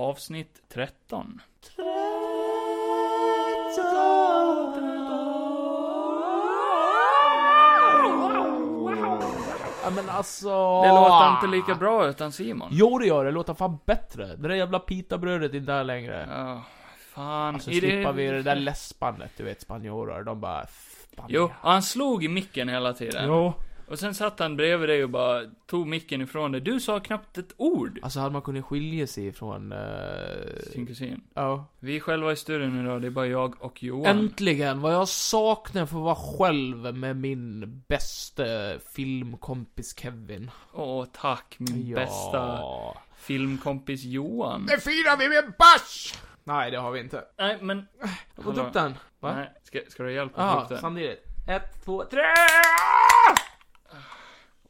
Avsnitt 13. Ja, men alltså... Det låter inte lika bra utan Simon. Jo det gör det, det låter fan bättre. Det där jävla pitabrödet är inte där längre. Ja, fan. Så Är det- slipper Alltså, vi det där läspandet, du vet spanjorer. De bara... Fan, Jo, och han slog i micken hela tiden. Jo. Och sen satt han bredvid dig och bara tog micken ifrån dig. Du sa knappt ett ord. Alltså hade man kunnat skilja sig ifrån... eh, Sin kusin. Ja. Vi är själva i studion idag, det är bara jag och Johan. Äntligen! Vad jag saknar för att vara själv med min bästa filmkompis Kevin. Åh, tack min bästa filmkompis Johan. Nu firar vi med bash! Nej, det har vi inte. Nej, men... Jag har gått Hallå. upp den. Va? Nej, ska, ska du hjälpa mig Ja, upp den? samtidigt. Ett, två, tre!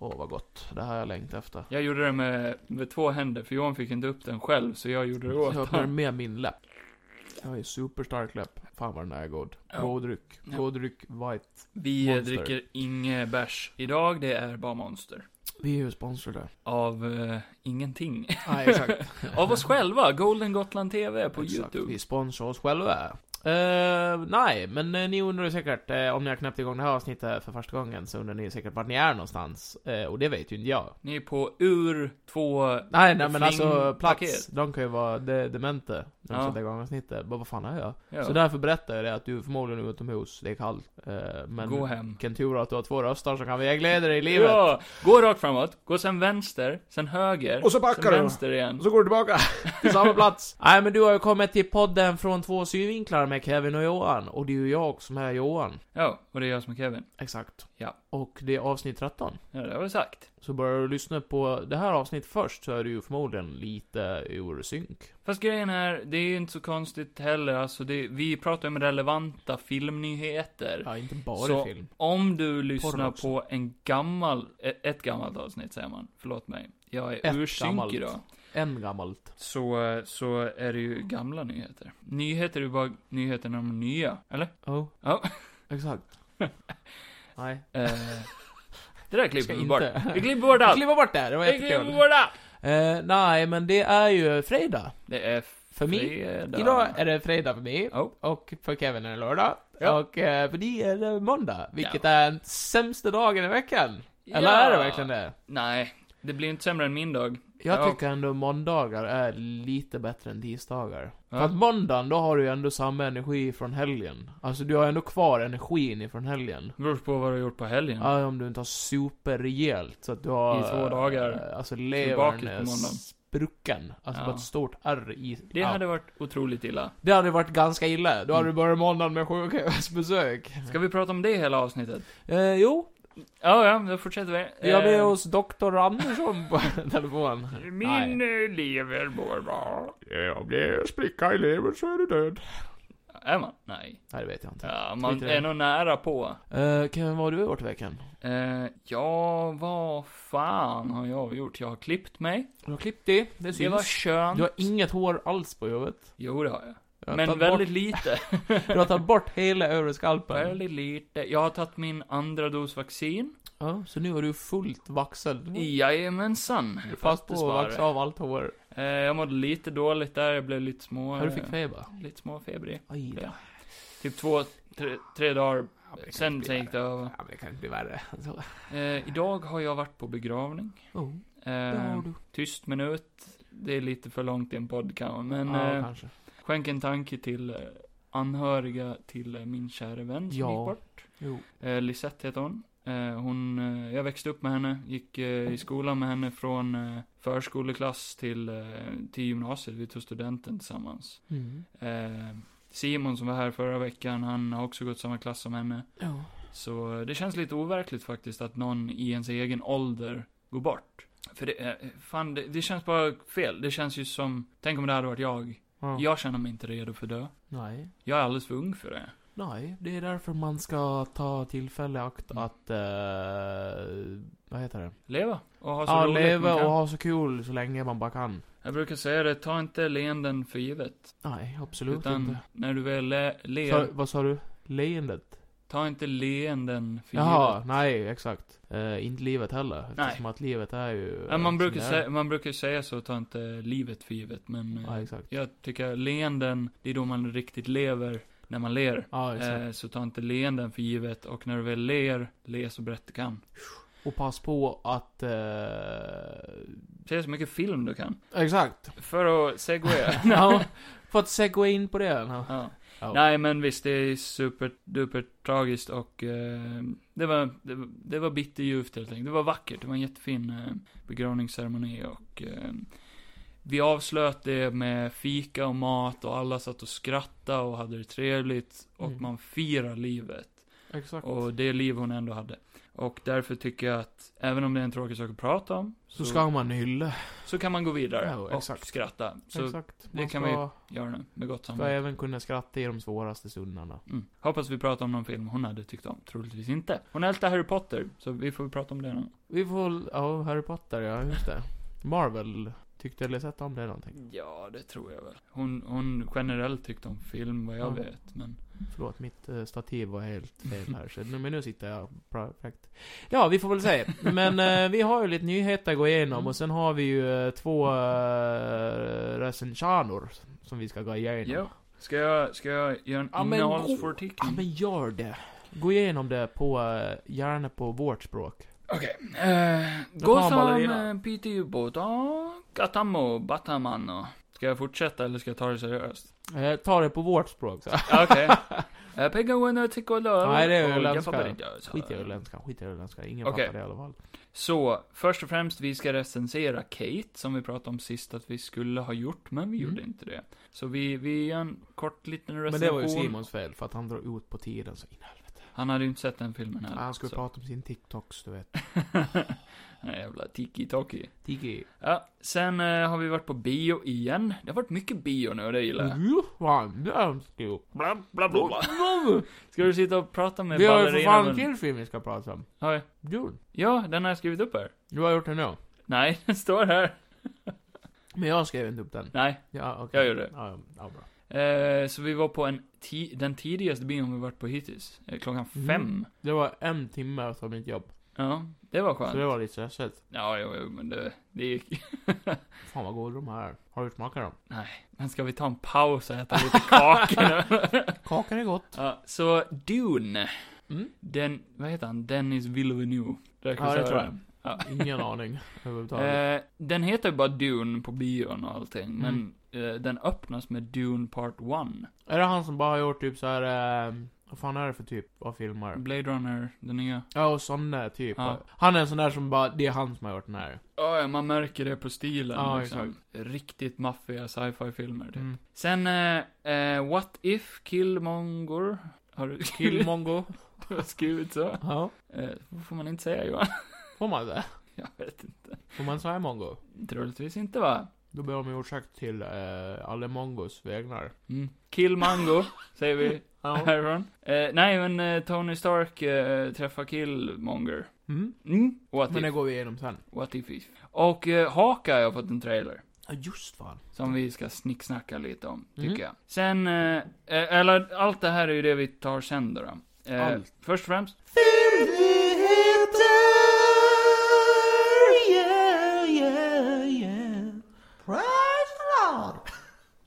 Åh, vad gott. Det här har jag längtat efter. Jag gjorde det med, med två händer, för Johan fick inte upp den själv, så jag gjorde det åt Jag öppnar honom. med min läpp. Jag har ju superstark läpp. Fan vad den här är god. Ja. God dryck. Ja. God dryck, white. Vi eh, Monster. dricker inget bärs idag, det är bara monster. Vi är ju sponsrade. Av eh, ingenting. Nej, exakt. Av oss själva, Golden Gotland TV på Exakt. YouTube. Vi sponsrar oss själva. Eh, nej, men eh, ni undrar ju säkert, eh, om ni har knäppt igång det här avsnittet för första gången, så undrar ni ju säkert vart ni är någonstans. Eh, och det vet ju inte jag. Ni är på ur två... Nej, nej men Fling- alltså plats, paket. de kan ju vara de demente när de Ja. sätter igång avsnittet. Bara, vad fan är jag? Ja, Så därför berättar jag det att du förmodligen är utomhus, det är kallt. Eh, men Gå hem. vilken tur att du har två röster som kan vägleda dig i livet. Ja, gå rakt framåt, gå sen vänster, sen höger, Och så backar sen du. vänster igen. Och så går du tillbaka till samma plats. Nej men du har ju kommit till podden från två synvinklar med Kevin och Johan. Och det är ju jag som är Johan. Ja, och det är jag som är Kevin. Exakt. Ja. Och det är avsnitt 13. Ja, det har vi sagt. Så börjar du lyssna på det här avsnittet först så är du ju förmodligen lite ur synk. Fast grejen är, det är ju inte så konstigt heller, alltså det, vi pratar ju om relevanta filmnyheter. Ja, inte bara Så- film. Om du lyssnar också. på en gammal, e- ett gammalt avsnitt säger man, förlåt mig. Jag är Ett ur synk gammalt. idag. En gammalt. Så, eh, så är det ju gamla nyheter. Nyheter är ju bara nyheter när de är nya, eller? Oh. Ja. Exakt. Nej. Eh, det där klipper Ska vi inte. bort. Vi klipper bort allt. Kliva bort där, det var Vi klipper jättekul. bort allt. Eh, nej, men det är ju fredag. Det är För mig. fredag. Idag är det fredag Oh. för mig. Ja. Och för Kevin är det lördag. Ja. Och eh, för dig är det måndag. Vilket Ja. är den sämsta dagen i veckan. Eller är det verkligen det? Nej, det blir inte sämre än min dag. Jag Ja. tycker ändå måndagar är lite bättre än tisdagar. Ja. För att måndagen, då har du ju ändå samma energi från helgen. Alltså du har ändå kvar energin ifrån helgen. Det beror på vad du har gjort på helgen. Ja, om du inte har superrejält så att du har... I två dagar. eh, Alltså bakis levern på är måndagen. sprucken. Alltså Ja. bara ett stort R i... Det ja. hade varit otroligt illa. det hade varit ganska illa. Då hade Mm. du börjat måndagen med sjukhusbesök. Ska vi prata om det hela avsnittet? Eh, jo, Ja, ja, då fortsätter vi. vi har med Eh, oss doktor Andersson på telefon. Min eh, lever mår bra. Om det är spricka i levern så är du död. Är man? Nej. Nej, det vet jag inte. Ja, man Skit i det. är nog nära på. Eh, Kevin, vad har du gjort i veckan? Eh, ja, vad fan har jag gjort? Jag har klippt mig. Du har klippt dig, det syns. Det var skönt. Du har inget hår alls på huvudet. Jo, det har jag. Du har Men tagit väldigt lite. Bort, du har tagit bort hela övre skalpen. väldigt lite. Jag har tagit min andra dos vaccin. Ja, så nu är du fullt vaxad. Jajamensan. Mm. Du är Fast på Faktiskt att var vaxa det. av allt hår. Eh, jag mådde lite dåligt där, jag blev lite små... Ja, du fick eh, feber. Lite småfebrig. Aj då. Ja. Typ två, tre, tre dagar. Ja, men det kan Sen inte sen bli gick värre. det över. Ja, men det kan inte bli värre. Så. Eh, idag har jag varit på begravning. Oh, det Eh, har du. tyst minut. Det är lite för långt i en podd kanske, men ja, eh, kanske. skänk en tanke till eh, anhöriga till eh, min kära vän som Ja. gick bort. Jo. Eh, Lisette heter hon. Eh, hon eh, jag växte upp med henne, gick eh, Mm. i skolan med henne från eh, förskoleklass till, eh, till gymnasiet. Vi tog studenten tillsammans. Mm. Eh, Simon som var här förra veckan, han har också gått samma klass som henne. Ja. Så eh, det känns lite overkligt faktiskt att någon i ens egen ålder går bort. För det, är- fan, det, det känns bara fel. Det känns ju som, tänk om det hade varit jag. Ja. Jag känner mig inte redo för dö. Nej. Jag är alldeles för ung för det. Nej, det är därför man ska ta tillfälle i akt Mm. att... Eh, vad heter det? Leva och ha så Ja, roligt leva man kan. och ha så kul så länge man bara kan. Jag brukar säga det, ta inte leenden för givet. Nej, absolut utan inte. när du väl le, ler, Sa, vad sa du? Leendet? Ta inte leenden för Jaha, givet. nej, exakt. Eh, inte livet heller. Eftersom att livet är ju... Ja, man, som brukar det är. säga, man brukar säga så, ta inte livet för givet. Men eh, Ja, exakt. jag tycker leenden, det är då man riktigt lever, när man ler. Ja, exakt. Eh, så ta inte leenden för givet. Och när du väl ler, le så brett du kan. Och pass på att... eh, Se så mycket film du kan. Exakt. För att segwaya. ja, för att segwa in på det. Ja. Ja. Ja. Nej men visst, det är superduper tragiskt och eh, det, var, det, var- det var bitterljuvt helt enkelt. Det var vackert, det var en jättefin eh, begravningsceremoni och eh, vi avslöt det med fika och mat och alla satt och skrattade och hade det trevligt och Mm. man firar livet. Exakt. Och det liv hon ändå hade. Och därför tycker jag att, även om det är en tråkig sak att prata om, så ska man hylla. så kan man gå vidare Ja, och exakt. skratta. Så exakt. det Man kan ska, gör det, med gott ska samvete. även kunna skratta i de svåraste stunderna. Mm. Hoppas vi pratar om någon film hon hade tyckt om. Troligtvis inte. Hon ältar Harry Potter, så vi får prata om det någon. Vi får väl- ja, Harry Potter, ja just det. Marvel, tyckte eller sett om det någonting? Ja, det tror jag väl. Hon, hon generellt tyckte om film, vad jag Ja. vet. Men Förlåt, mitt eh, stativ var helt fel här, så, nu- men nu sitter jag perfekt. Ja, vi får väl se. Men eh, vi har ju lite nyheter att gå igenom, och sen har vi ju eh, två eh, recensioner som vi ska gå igenom. ja. Ska jag, ska jag göra en Ja, men innehållsförteckning? Ja, men gör det. Gå igenom det på, eh, gärna på vårt språk. Okej. Eh, Då tar gå han som ballerina. eh, Peter Ubåta, Gatamo, Batamano. Ska jag fortsätta eller ska jag ta det seriöst? Eh, ta det på vårt språk, så. Ja, Okej. Eh, Pegga Winner, Tico Lööf. Nej, det är och öländska. Jaffa Bergdös. Skit i öländskan, skit i öländskan. Ingen Okej. fattar det i alla fall. Så, först och främst, vi ska recensera Kate, som vi pratade om sist att vi skulle ha gjort, men vi Mm. gjorde inte det. Så vi, vi gör en kort liten Men det recension. var ju Simons fel, för att han drar ut på tiden så in i helvete. Han hade ju inte sett den filmen heller. Han skulle så. prata om sin TikToks, du vet. Den jävla tiki-toki. Tiki. Ja, sen eh, har vi varit på bio igen. Det har varit mycket bio nu och det gillar jag. Jo, fan, det är ju... Bla, bla, bla, bla. Ska du sitta och prata med Vi har ju för fan en ballerinan? till film vi ska prata om. Ja, Dune. Ja, den har jag skrivit upp här. Du har gjort den nu. Nej, den står här. Men jag skrev inte upp den. Nej. Ja, okej. Jag gjorde det. Ja, ja, ja, bra. Eh, så vi var på en ti- den tidigaste bion vi varit på hittills. Eh, klockan Mm. fem. Det var en timme av mitt jobb. Ja, det var Så skönt. det var lite stressigt. Ja, jo, jo, men det, det gick. Fan vad goda de här. Har du smakat dem? Men ska vi ta en paus och äta lite kakor nu? Kakan är gott. ja, så Dune. Mm. Den, vad heter han? Dennis Villeneuve. Ja, det tror jag. Ja. Ingen aning överhuvudtaget. Eh, den heter ju bara Dune på bion och allting, Mm. men eh, den öppnas med Dune Part 1. Är det han som bara har gjort typ så här. Eh, vad fan är det för typ av filmer? Blade Runner, den nya. Ja, och sån där typ. Ja. Han är en sån där som bara, det är han som har gjort den här. Ja, ja, man märker det på stilen. Ja, liksom. Riktigt maffiga sci-fi filmer. Typ. Mm. Sen, eh, eh, What If Killmonger? Har du Killmongo. Du har skrivit så? ja. Eh, får man inte säga Johan? Får man det? Jag vet inte. Får man säga mongo? Troligtvis inte va? Då ber jag om ursäkt till eh, alla mongos vägnar. Mm. Killmango, säger vi härifrån. Eh, nej, men eh, Tony Stark eh, träffar Killmonger. Mm. Mm. What Men det if, går vi igenom sen. what if if. Och eh, Haka har jag fått en trailer. Ja, just fan. Som vi ska snicksnacka lite om, tycker Mm. jag. Sen, eh, eh, eller allt det här är ju det vi tar sen då. då. Eh, Allt. Först och främst,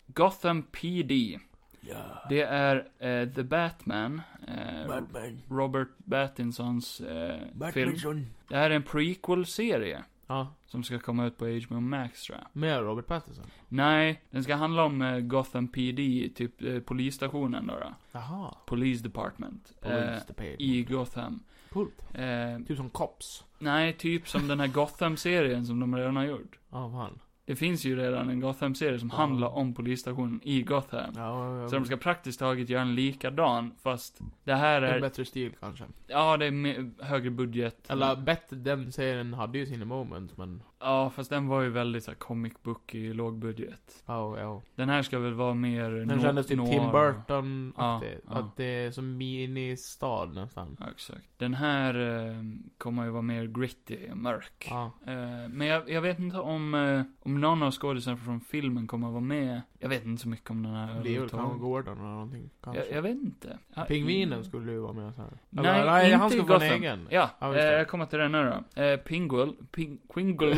Gotham PD. Ja. Det är eh, The Batman. Eh, Batman. Robert Pattinsons eh, film. Batmanson. Det här är en prequel-serie. Ja, Som ska komma ut på HBO Max tror jag. med Robert Pattinson. Nej, den ska handla om eh, Gotham PD, typ eh, polisstationen då. då. Jaha. Police Department. Eh, Police the pale. I Gotham. Coolt. Eh, Typ som Cops. nej, typ som den här Gotham-serien som de redan har gjort. Ja, fan. Det finns ju redan en Gotham-serie som Ja. handlar om polisstationen i Gotham. Ja, ja, ja. Så de ska praktiskt taget göra en likadan, fast det här En är... bättre stil kanske. Ja, det är me- högre budget. Eller bättre, den serien hade ju sina moments men... Ja, fast den var ju väldigt så här, comic book i lågbudget. Ja, ja. Den här ska väl vara mer Den no- kändes typ noir. Tim burton Ja, att, det, ja. att det är som ministad nästan. Ja, exakt. Den här eh, kommer ju vara mer gritty, mörk. Ja. Eh, men jag, jag vet inte om, eh, om någon av skådisarna från filmen kommer att vara med. Jag vet inte så mycket om den här Det blir väl överhuvudtaget. kanske Gordon eller någonting. Kanske. jag, jag vet inte. Ja, Pingvinen mm. skulle ju vara med så här. Nej, Eller, nej han inte skulle vara en Gotham. egen. Ja, Ja, just eh, det. jag kommer till den nu då. Eh, Pinguel, ping, Pinguel.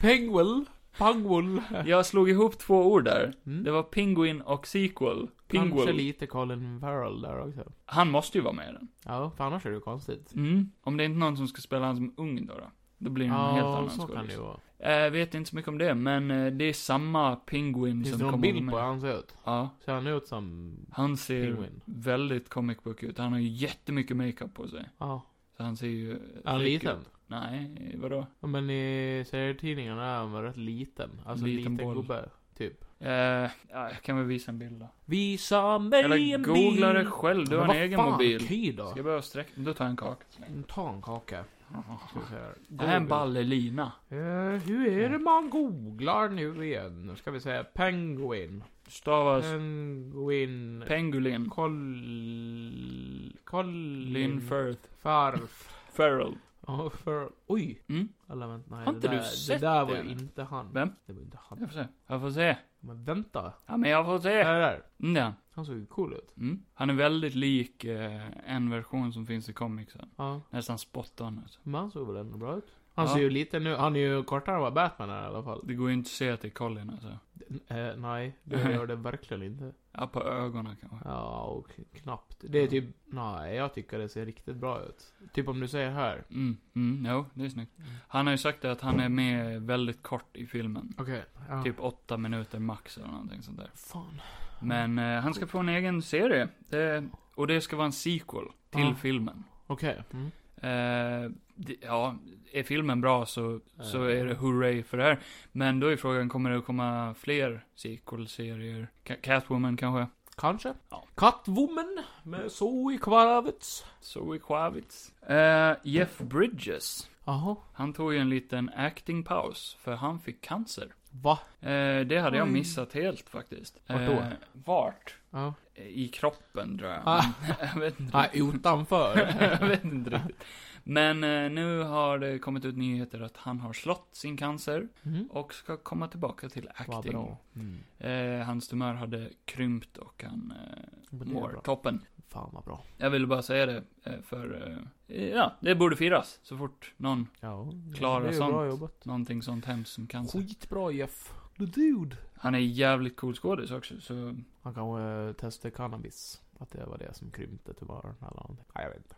Penguel. Pangwol. jag slog ihop två ord där. Mm. Det var Pinguin och sequel. Kanske Pinguel. lite Colin Farrell där också. Han måste ju vara med i den. Ja, för annars är det ju konstigt. Mm. Om det är inte någon som ska spela han som ung då. Då, då blir det en helt Ja, annan så kan det skådis. ju vara. Eh, vet inte så mycket om det, men eh, det är samma Pinguin Finns som det kommer någon med. bild på hur han ser ut? Ja. Ser han ut som... Han ser Penguin. väldigt comic book ut. Han har ju jättemycket makeup på sig. Ja. Så han ser ju... Är han fake liten? ut. Nej, vadå? Ja, men i serietidningarna är han väl rätt liten. Alltså Liten liten, boll. gubbe, typ. Eh, ja, jag kan väl visa en bild då. Visa mig Eller en googla det bild. själv, du Men har en vad egen fan, mobil. Kry Ska då? jag börja sträcka? Då tar jag en kaka. Ta en kaka. Ska vi se här. Det här är en ballerina. Eh, hur är det man googlar nu igen? Nu ska vi säga penguin. Stavas Penguin. Pengulin. Col... Colin Lin Firth. Farf. Ferrell. Ja, för... Oj! Mm, Eller vänta, nej. Har det inte du där, sett det? där var det, ju eller? inte han. Vem? Det var inte han. jag får se. Jag får se. Men vänta. Ja, men jag får se. Där, där. Mm, det är han. Han såg ju cool ut. Mm. Han är väldigt lik eh, en version som finns i comicsen. Ja. Nästan spot on. Alltså. Men han såg väl ändå bra ut? Han Ja. ser ju lite nu, han är ju kortare än vad Batman är i alla fall. Det går ju inte att se att det är Colin alltså. Eh, nej, det gör det verkligen inte. Ja, på ögonen kanske. Ja, och k- knappt. Det är typ, nej, jag tycker det ser riktigt bra ut. Typ om du säger här. Mm, mm, jo, det är snyggt. Han har ju sagt det att han är med väldigt kort i filmen. Okej. Ja. Typ åtta minuter max eller någonting sånt där. Fan. Men eh, han ska få en egen serie. Det, och det ska vara en sequel till Ja. filmen. Okej. Mm. Eh, det, ja, är filmen bra så, så Eh. är det hurray för det här. Men då är frågan, kommer det att komma fler sequel-serier? Ca- Catwoman kanske? Kanske. Ja. Catwoman med Zoe Kravitz. Zoe Kravitz? Eh, Jeff Bridges. Jaha. Han tog ju en liten acting-paus, för han fick cancer. Va? Eh, det hade jag Oj. missat helt faktiskt. Vart då? Eh, vart? Ja. I kroppen tror jag. Ah. jag vet inte Nej, riktigt. utanför. jag vet inte riktigt. Men eh, nu har det kommit ut nyheter att han har slått sin cancer Mm. och ska komma tillbaka till Vad acting. bra. Mm. Eh, hans tumör hade krympt och han eh, Det är mår bra. toppen. Fan vad bra. Jag ville bara säga det, eh, för eh, ja, det borde firas så fort någon, Ja. Klara det är ju sånt. bra jobbat. någonting sånt hemskt som cancer. Skitbra Jeff. The dude. Han är jävligt cool skådis också, så Han kanske testade cannabis. Att det var det som krympte tumören eller någonting. Nej, jag vet inte.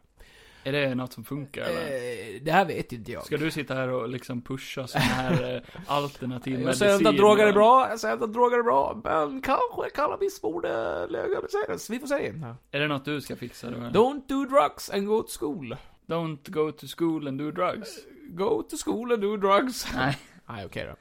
är det något som funkar eller? Eh, det här vet inte jag. Ska du sitta här och liksom pusha sån här eh, alternativ medicin? jag säger inte att droger är bra, jag säger inte att droger är bra, men kanske cannabis borde legaliseras. Vi får se. Är det något du ska fixa då? eller? Don't do drugs and go to school. Don't go to school and do drugs. Go to school and do drugs. Nej. Nej, okej då.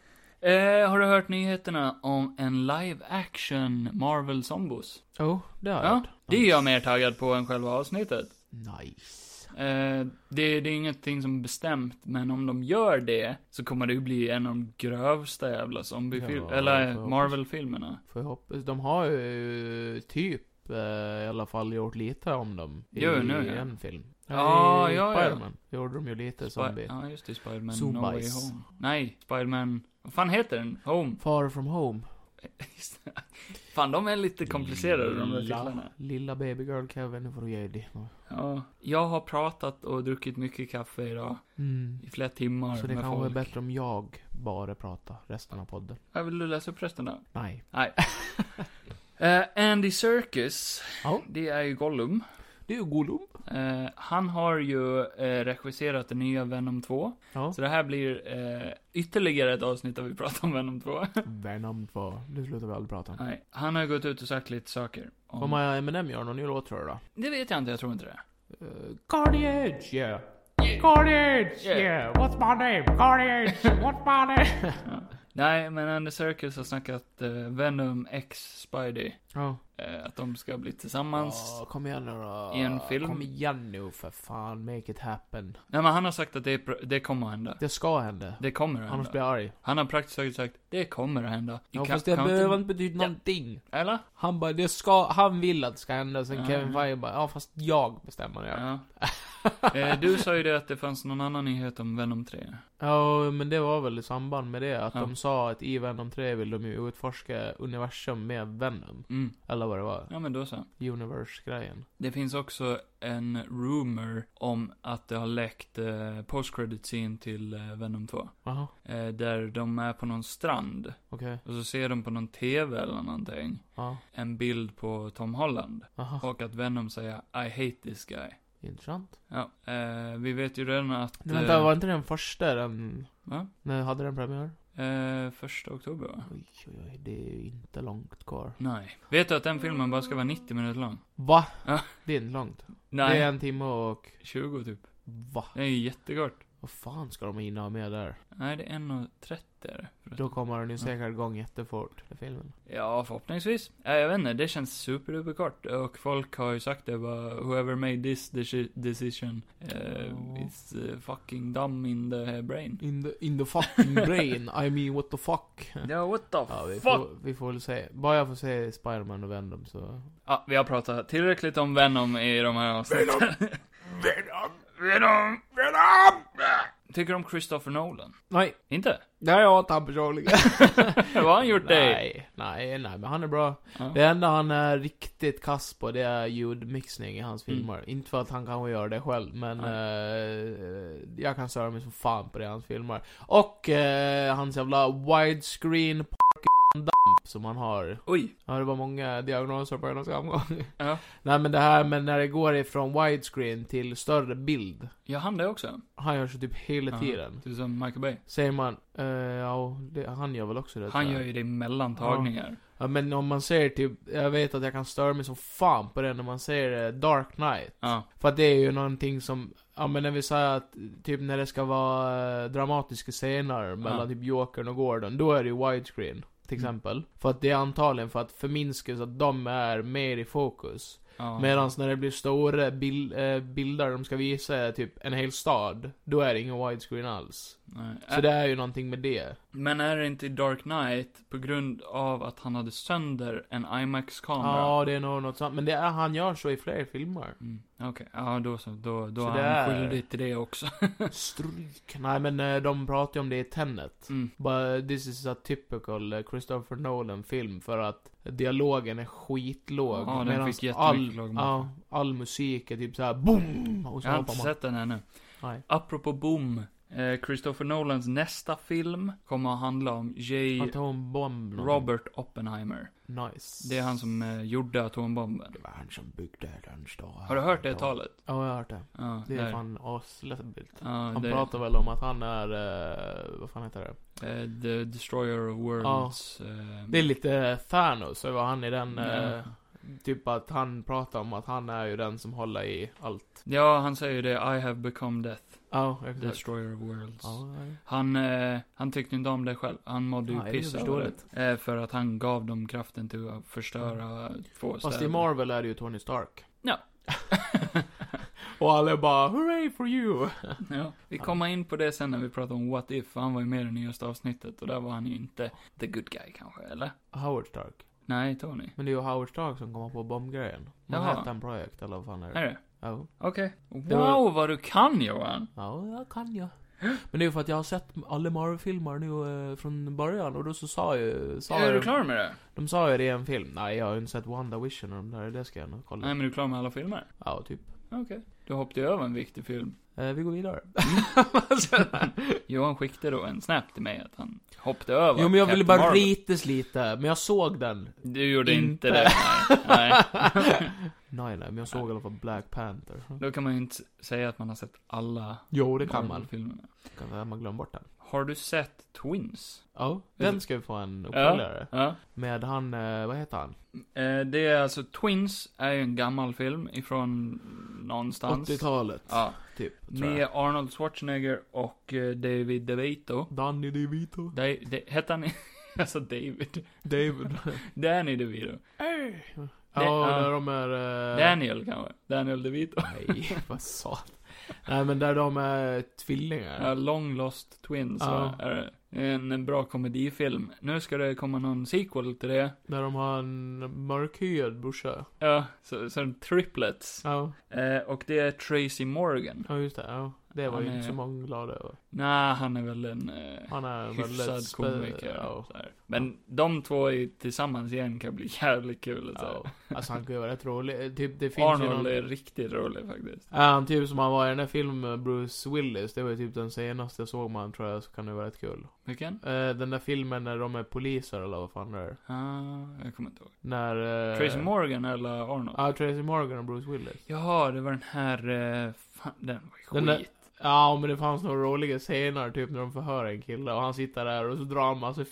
Eh, har du hört nyheterna om en live action Marvel Zombos? Jo, oh, det har jag Ja, hört. det är jag mer taggad på än själva avsnittet. Nice. Eh, det, det är ingenting som är bestämt, men om de gör det så kommer det ju bli en av de grövsta jävla zombiefilmerna, Ja, eller jag får eh, hoppas. Marvel-filmerna. Får jag hoppas. De har ju typ eh, i alla fall gjort lite om dem. I Jo, nu, ja. en film. Ja, i ja, ja. Spiderman. Gjorde de ju lite zombie. Spi- ja, just det, Spiderman No Way Zombies. Home. Nej, Spiderman... Vad fan heter den? Home? Far from home. Fan, de är lite komplicerade de där lilla, titlarna. lilla baby girl Kevin, nu får du ge dig. Ja, jag har pratat och druckit mycket kaffe idag. Mm. I flera timmar Så det med kan vara folk. bättre om jag bara pratar resten av podden. Ja, vill du läsa upp resten då? Nej. Nej. Eh, Andy Serkis, Ja. det är ju Gollum. Det är ju Gollum. Eh, han har ju eh, regisserat den nya Venom 2. Ja. Så det här blir eh, ytterligare ett avsnitt där vi pratar om Venom 2. Venom 2. Nu slutar vi aldrig prata om. Nej, han har ju gått ut och sagt lite saker. om- Kommer Eminem göra någon ny låt tror du då? Det vet jag inte, jag tror inte det. Uh, Carnage, yeah. Carnage, Yeah. yeah. What's my name? Carnage, what's my name? Nej, men Andy Serkis har snackat eh, Venom X Spidey. Ja. eh, att de ska bli tillsammans. Ja, kom igen nu då. I en film. Kom igen nu för fan, make it happen. Nej men han har sagt att det, är pr- det kommer att hända. Det ska hända. Det kommer att Annars hända. blir jag arg. Han har praktiskt taget sagt, det kommer att hända. I Ja, Cap- fast det Counting- behöver inte betyda Ja. någonting. Eller? Han bara, det ska, han vill att det ska hända. Sen Ja, Kevin ja. Feige bara, ja fast jag bestämmer det. Ja. Eh, du sa ju det att det fanns någon annan nyhet om Venom 3. Ja, men det var väl i samband med det. Att Ja. de sa att i Venom 3 vill de ju utforska universum med Venom. Mm. Eller vad det var. Ja men då så. Universe-grejen. Det finns också en rumor om att det har läckt eh, post-credit scene till eh, Venom 2. Jaha, Eh, där de är på någon strand. okej. Och så ser de på någon TV eller någonting. Ja, En bild på Tom Holland. aha. Och att Venom säger I hate this guy. Intressant. Ja, eh, vi vet ju redan att... eh, Men vänta, var inte den första den... va? När hade den premiär? Eh, första oktober va? Oj, oj, oj, det är ju inte långt kvar. Nej. Vet du att den filmen bara ska vara 90 minuter lång? Va? Ja. Det är inte långt. Nej. Det är en timme och... 20 typ. Va? Det är ju jättekort. Vad fan ska de hinna ha med där? Nej, det är 1.30 är det, förresten. Då kommer den ju säkert igång jättefort, den filmen. Ja, förhoppningsvis. Ja, jag vet inte, det känns superduperkort. Och folk har ju sagt det bara, whoever made this deci- decision Ja. uh, is eh, fucking dumb in the brain. In the, in the fucking brain, I mean what the fuck. Ja, what the Ja, vi fuck? får, vi får väl se. Bara jag får se Spiderman och Venom så... Ja, vi har pratat tillräckligt om Venom i de här avsnitten. Venom! Venom! Venom! Venom! Tycker du om Christopher Nolan? Nej! Inte? Det har jag varit han personligen. Vad har han gjort dig? Nej, nej, nej, men han är bra. Ja. Det enda han är riktigt kass på det är ljudmixning i hans Mm. filmer. Inte för att han kanske gör det själv, men Nej. eh, jag kan störa mig som fan på det i hans filmer. Och eh, hans jävla widescreen p- dump som han har. Oj. Ja, det var många diagnoser på en och samma gång. Ja. Nej men det här men när det går ifrån widescreen till större bild. Gör han det också? Han gör så typ hela Ja. tiden. Du som Michael Bay? Säger man, eh, ja, det, han gör väl också det tror Han jag. gör ju det i mellantagningar. Ja men om man ser typ, jag vet att jag kan störa mig som fan på det när man ser eh, Dark Knight. Ja. För att det är ju någonting som, ja men när vi säger att, eh, typ när det ska vara eh, dramatiska scener mellan typ Jokern och Gordon, då är det ju widescreen. Till Mm. exempel. För att det är antagligen för att förminska så att de är mer i fokus. ja. Medan när det blir stora bil, eh, bilder de ska visa eh, typ en hel stad, då är det ingen widescreen alls. Nej. Så det är ju någonting med det. Men är det inte i Dark Knight på grund av att han hade sönder en IMAX-kamera? Ja, det är nog något sånt. Men det är, han gör så i fler filmer. Mm, Okej, ja då så. Då, då Så är det han är- skyldig till det också. Stryk. Nej men eh, de pratar ju om det i Tenet. Mm. Bara, this is a typical eh, Christopher Nolan film för att dialogen är skitlåg. Ja, den medans fick jättemycket all, låg ja, all musik är typ såhär boom! Och så Jag har inte hoppar man. sett den ännu. Nej. Apropå boom. Eh, Christopher Nolans nästa film kommer att handla om J. Atombomb. någon. Robert Oppenheimer. Nice. Det är han som eh, gjorde atombomben. Det var han som byggde den stora. Har du hört det talet? Ja, jag har hört det. Ja, Det är där. fan asläbbigt. Ja, Han det, pratar väl om att han är, eh, vad fan heter det? eh, The Destroyer of Worlds. eh, Det är lite Thanos över han i den, Ja. eh, typ att han pratar om att han är ju den som håller i allt. Ja, han säger det. I have become death. Ja, exakt. Destroyer of Worlds. Ja, ja. Han, eh, han tyckte inte om det själv. Han mådde ju Nej, det är piss över förståeligt. det. Eh, för att han gav dem kraften till att förstöra två städer. Fast i Marvel är det ju Tony Stark. Ja. Och alla är bara 'Hooray for you!' ja, vi kommer in på det sen när vi pratar om What If, för han var ju med i det nyaste avsnittet och där var han ju inte the good guy kanske, eller? Howard Stark. Nej, Tony. Men det är ju Howard Stark som kommer på bombgrejen. Jaha. Manhattan Project eller vad fan är Är det? det? Ja. Okej. Det var- Wow, vad du kan Johan! Ja, jag kan jag. Men det är ju för att jag har sett alla Marvel-filmer nu eh, från början och då så sa ju... Sa Mm. är ju du klar med det? De sa ju det i en film. Nej, jag har ju inte sett WandaVision och de där, det ska jag nog kolla. Nej, men du är klar med alla filmer? Ja, typ. Du hoppade ju över en viktig film. Eh, vi går vidare. Mm. Johan skickade då en snap till mig att han hoppade över Jo, men jag ville Captain bara Marvel. ritas lite, men jag såg den. Du gjorde inte, Inte. det, nej. nej. Nej, nej, men jag såg i alla fall Black Panther. Då kan man ju inte säga att man har sett alla Jo, det kan man. filmerna. Kan man- man glömmer bort den. Har du sett Twins? Ja, den ska ju få en uppföljare. Ja. Med han, eh, vad heter han? Eh, Det är alltså, Twins är ju en gammal film ifrån någonstans. 80-talet. Ja. Typ, tror jag. Med Arnold Schwarzenegger och eh, David DeVito. Danny DeVito. De, de, hette han... alltså David. David. Eh. Danny DeVito. Hey. Ja, Ja. där de är... eh, Daniel kanske? Daniel DeVito? Nej, vad satan. Nej men där de är tvillingar. Ja, Long Lost Twins Ja. va? är det. En bra komedifilm. Nu ska det komma någon sequel till det. Där de har en mörkhyad brorsa. Ja, så, så en triplets. Ja, Eh, och det är Tracy Morgan. ja just det. Ja. Det var Han ju inte är- så många glada över. Nej, han är väl en eh, Han är väldigt hyfsad spe- komiker. Ja. så här. Men de två i, tillsammans igen kan bli jävligt kul. Så här. Ja. Alltså han kan ju vara rätt rolig. Typ, det finns ju Arnold någon... är riktigt rolig faktiskt. Ja, han typ som han var i den där filmen Bruce Willis. Det var ju typ den senaste jag såg man tror jag, så kan det vara rätt kul. Vilken? Eh, den där filmen när de är poliser eller vad fan det är. Ah, jag kommer inte ihåg. När... eh, Tracy Morgan eller Arnold? Ja, Tracy Morgan och Bruce Willis. Jaha, det var den här, eh, fan, den var ju Den där- skit. Ja, men det fanns några roliga scener typ när de förhör en kille och han sitter där och så drar han massa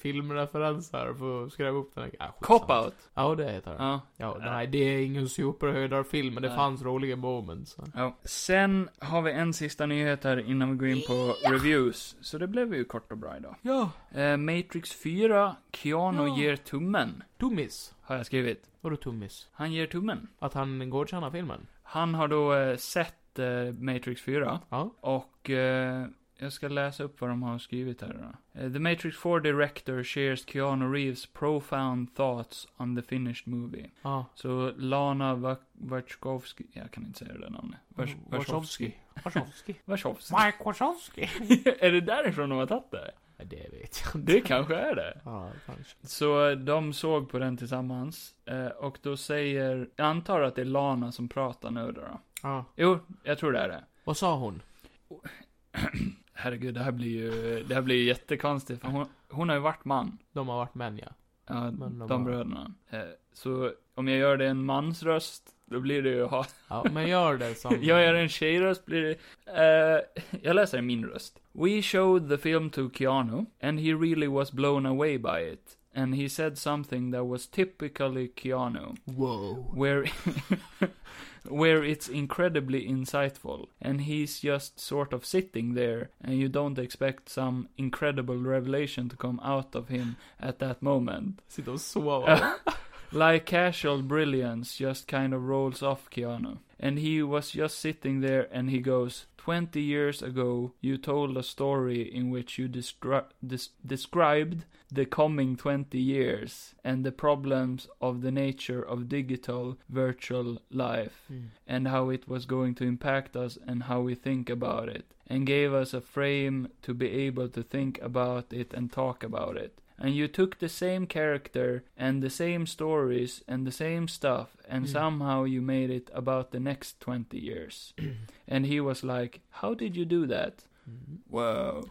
filmreferenser för att skräva upp den här... Ah, skitsamma. Cop-out. Ja, det heter den. Ja. Ja, nej, det är ingen superhöjdarfilm, men det Nej. fanns roliga moments. ja. Sen har vi en sista nyhet här innan vi går in på reviews. Så det blev ju kort och bra idag. Ja, Eh, Matrix 4, Keanu Ja. ger tummen. tummis. Har jag skrivit. Vadå tummis? Han ger tummen. Att han godkänner filmen? Han har då eh, sett eh, Matrix 4. Ja. Och eh, jag ska läsa upp vad de har skrivit här då. Eh, the Matrix 4 director shares Keanu Reeves profound thoughts on the finished movie. Ja. Så Lana Wa- Wachowski, jag kan inte säga det där namnet. Wach- Wachowski. Wachowski. Wachowski. Mm. Mike Wachowski. är det därifrån de har tagit det? Det vet jag inte. Det kanske är det. Ja, kanske. Så eh, de såg på den tillsammans. eh, Och då säger, jag antar att det är Lana som pratar nu då. då. Ja. Jo, jag tror det är det. Vad sa hon? Herregud, det här blir ju, det här blir ju jättekonstigt. För hon, hon har ju varit man. De har varit män, ja. Ja, Men de, de har- bröderna. Eh, Så om jag gör det en mans röst, då blir det ju hat. Ja, men gör det som... Gör jag en tjejröst blir det... Eh, jag läser min röst. We showed the film to Keanu, and he really was blown away by it. And he said something that was typically Keanu, Wow. where... where it's incredibly insightful. And he's just sort of sitting there, and you don't expect some incredible revelation to come out of him at that moment. Sitter och sover. Like casual brilliance just kind of rolls off Keanu. And he was just sitting there and he goes, 20 years ago, you told a story in which you descri- des- described the coming 20 years and the problems of the nature of digital virtual life Mm. and how it was going to impact us and how we think about it, and gave us a frame to be able to think about it and talk about it. And you took the same character and the same stories and the same stuff, and Mm. somehow you made it about the next 20 years. and he was like, How did you do that? Mm. Wow.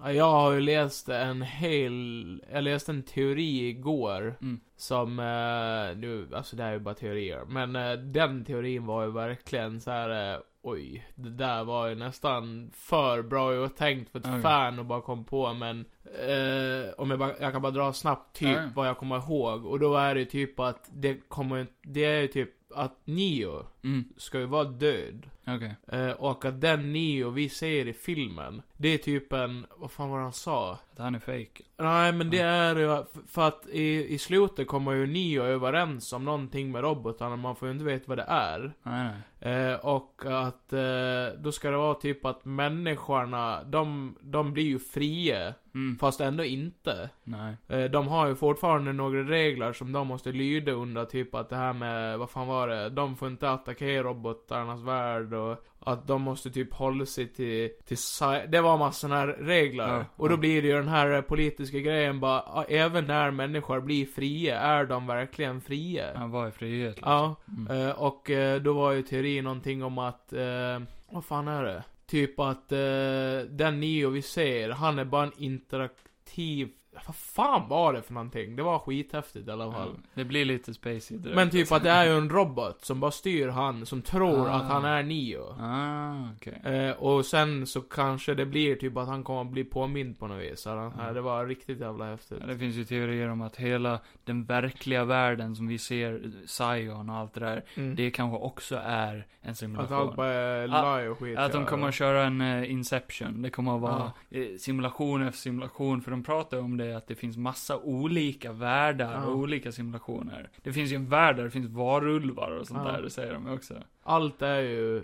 Ja, jag har ju läst en hel... Jag läste en teori igår. Mm. Som, eh, nu, alltså det här är ju bara teorier. Men eh, den teorin var ju verkligen så här. Eh, oj, det där var ju nästan för bra jag tänkt för ett Okej. fan och bara kom på. Men eh, om jag, bara, jag kan bara dra snabbt typ Ja. vad jag kommer ihåg. Och då är det ju typ att det kommer, det är ju typ att Neo Mm. ska ju vara död. Okay. Eh, och att den Neo vi ser i filmen, det är typ en, vad fan var det han sa? Att han är fake. Nej men det är ju, f- för att i, i slutet kommer ju Neo överens om någonting med robotarna, man får ju inte veta vad det är. Nej, nej. Eh, och att, eh, då ska det vara typ att människorna, de, de blir ju fria, Mm. fast ändå inte. Nej. Eh, De har ju fortfarande några regler som de måste lyda under, typ att det här med, vad fan var det, de får inte attackera robotarnas värld och att de måste typ hålla sig till, till sci- det var massor här regler. Ja, och då ja. blir det ju den här eh, politiska grejen bara, ah, även när människor blir fria, är de verkligen fria? Han var i frihet. liksom. Ja, Mm. eh, och eh, då var ju teorin någonting om att, eh, vad fan är det? Typ att eh, den Neo vi ser, han är bara en interaktiv, vad fan var det för någonting? Det var skithäftigt i alla fall. Ja. Det blir lite spacey direkt. alltså. Men typ att det är ju en robot som bara styr han, som tror Ah. att han är Neo. Ah, okej. Eh, och sen så kanske det blir typ att han kommer bli påmind på något vis. Eller, Mm. Det var riktigt jävla häftigt. Ja, det finns ju teorier om att hela den verkliga världen som vi ser, Zion och allt det där, Mm. det kanske också är en Att allt simulation. bara är Ah, lie och skit. Att de ja. kommer att köra en eh, Inception, det kommer att vara eh, simulation efter simulation, för de pratar om det är att det finns massa olika världar Ja. och olika simulationer. Det finns ju en värld där det finns varulvar och sånt Ja. där, det säger de ju också. Allt är ju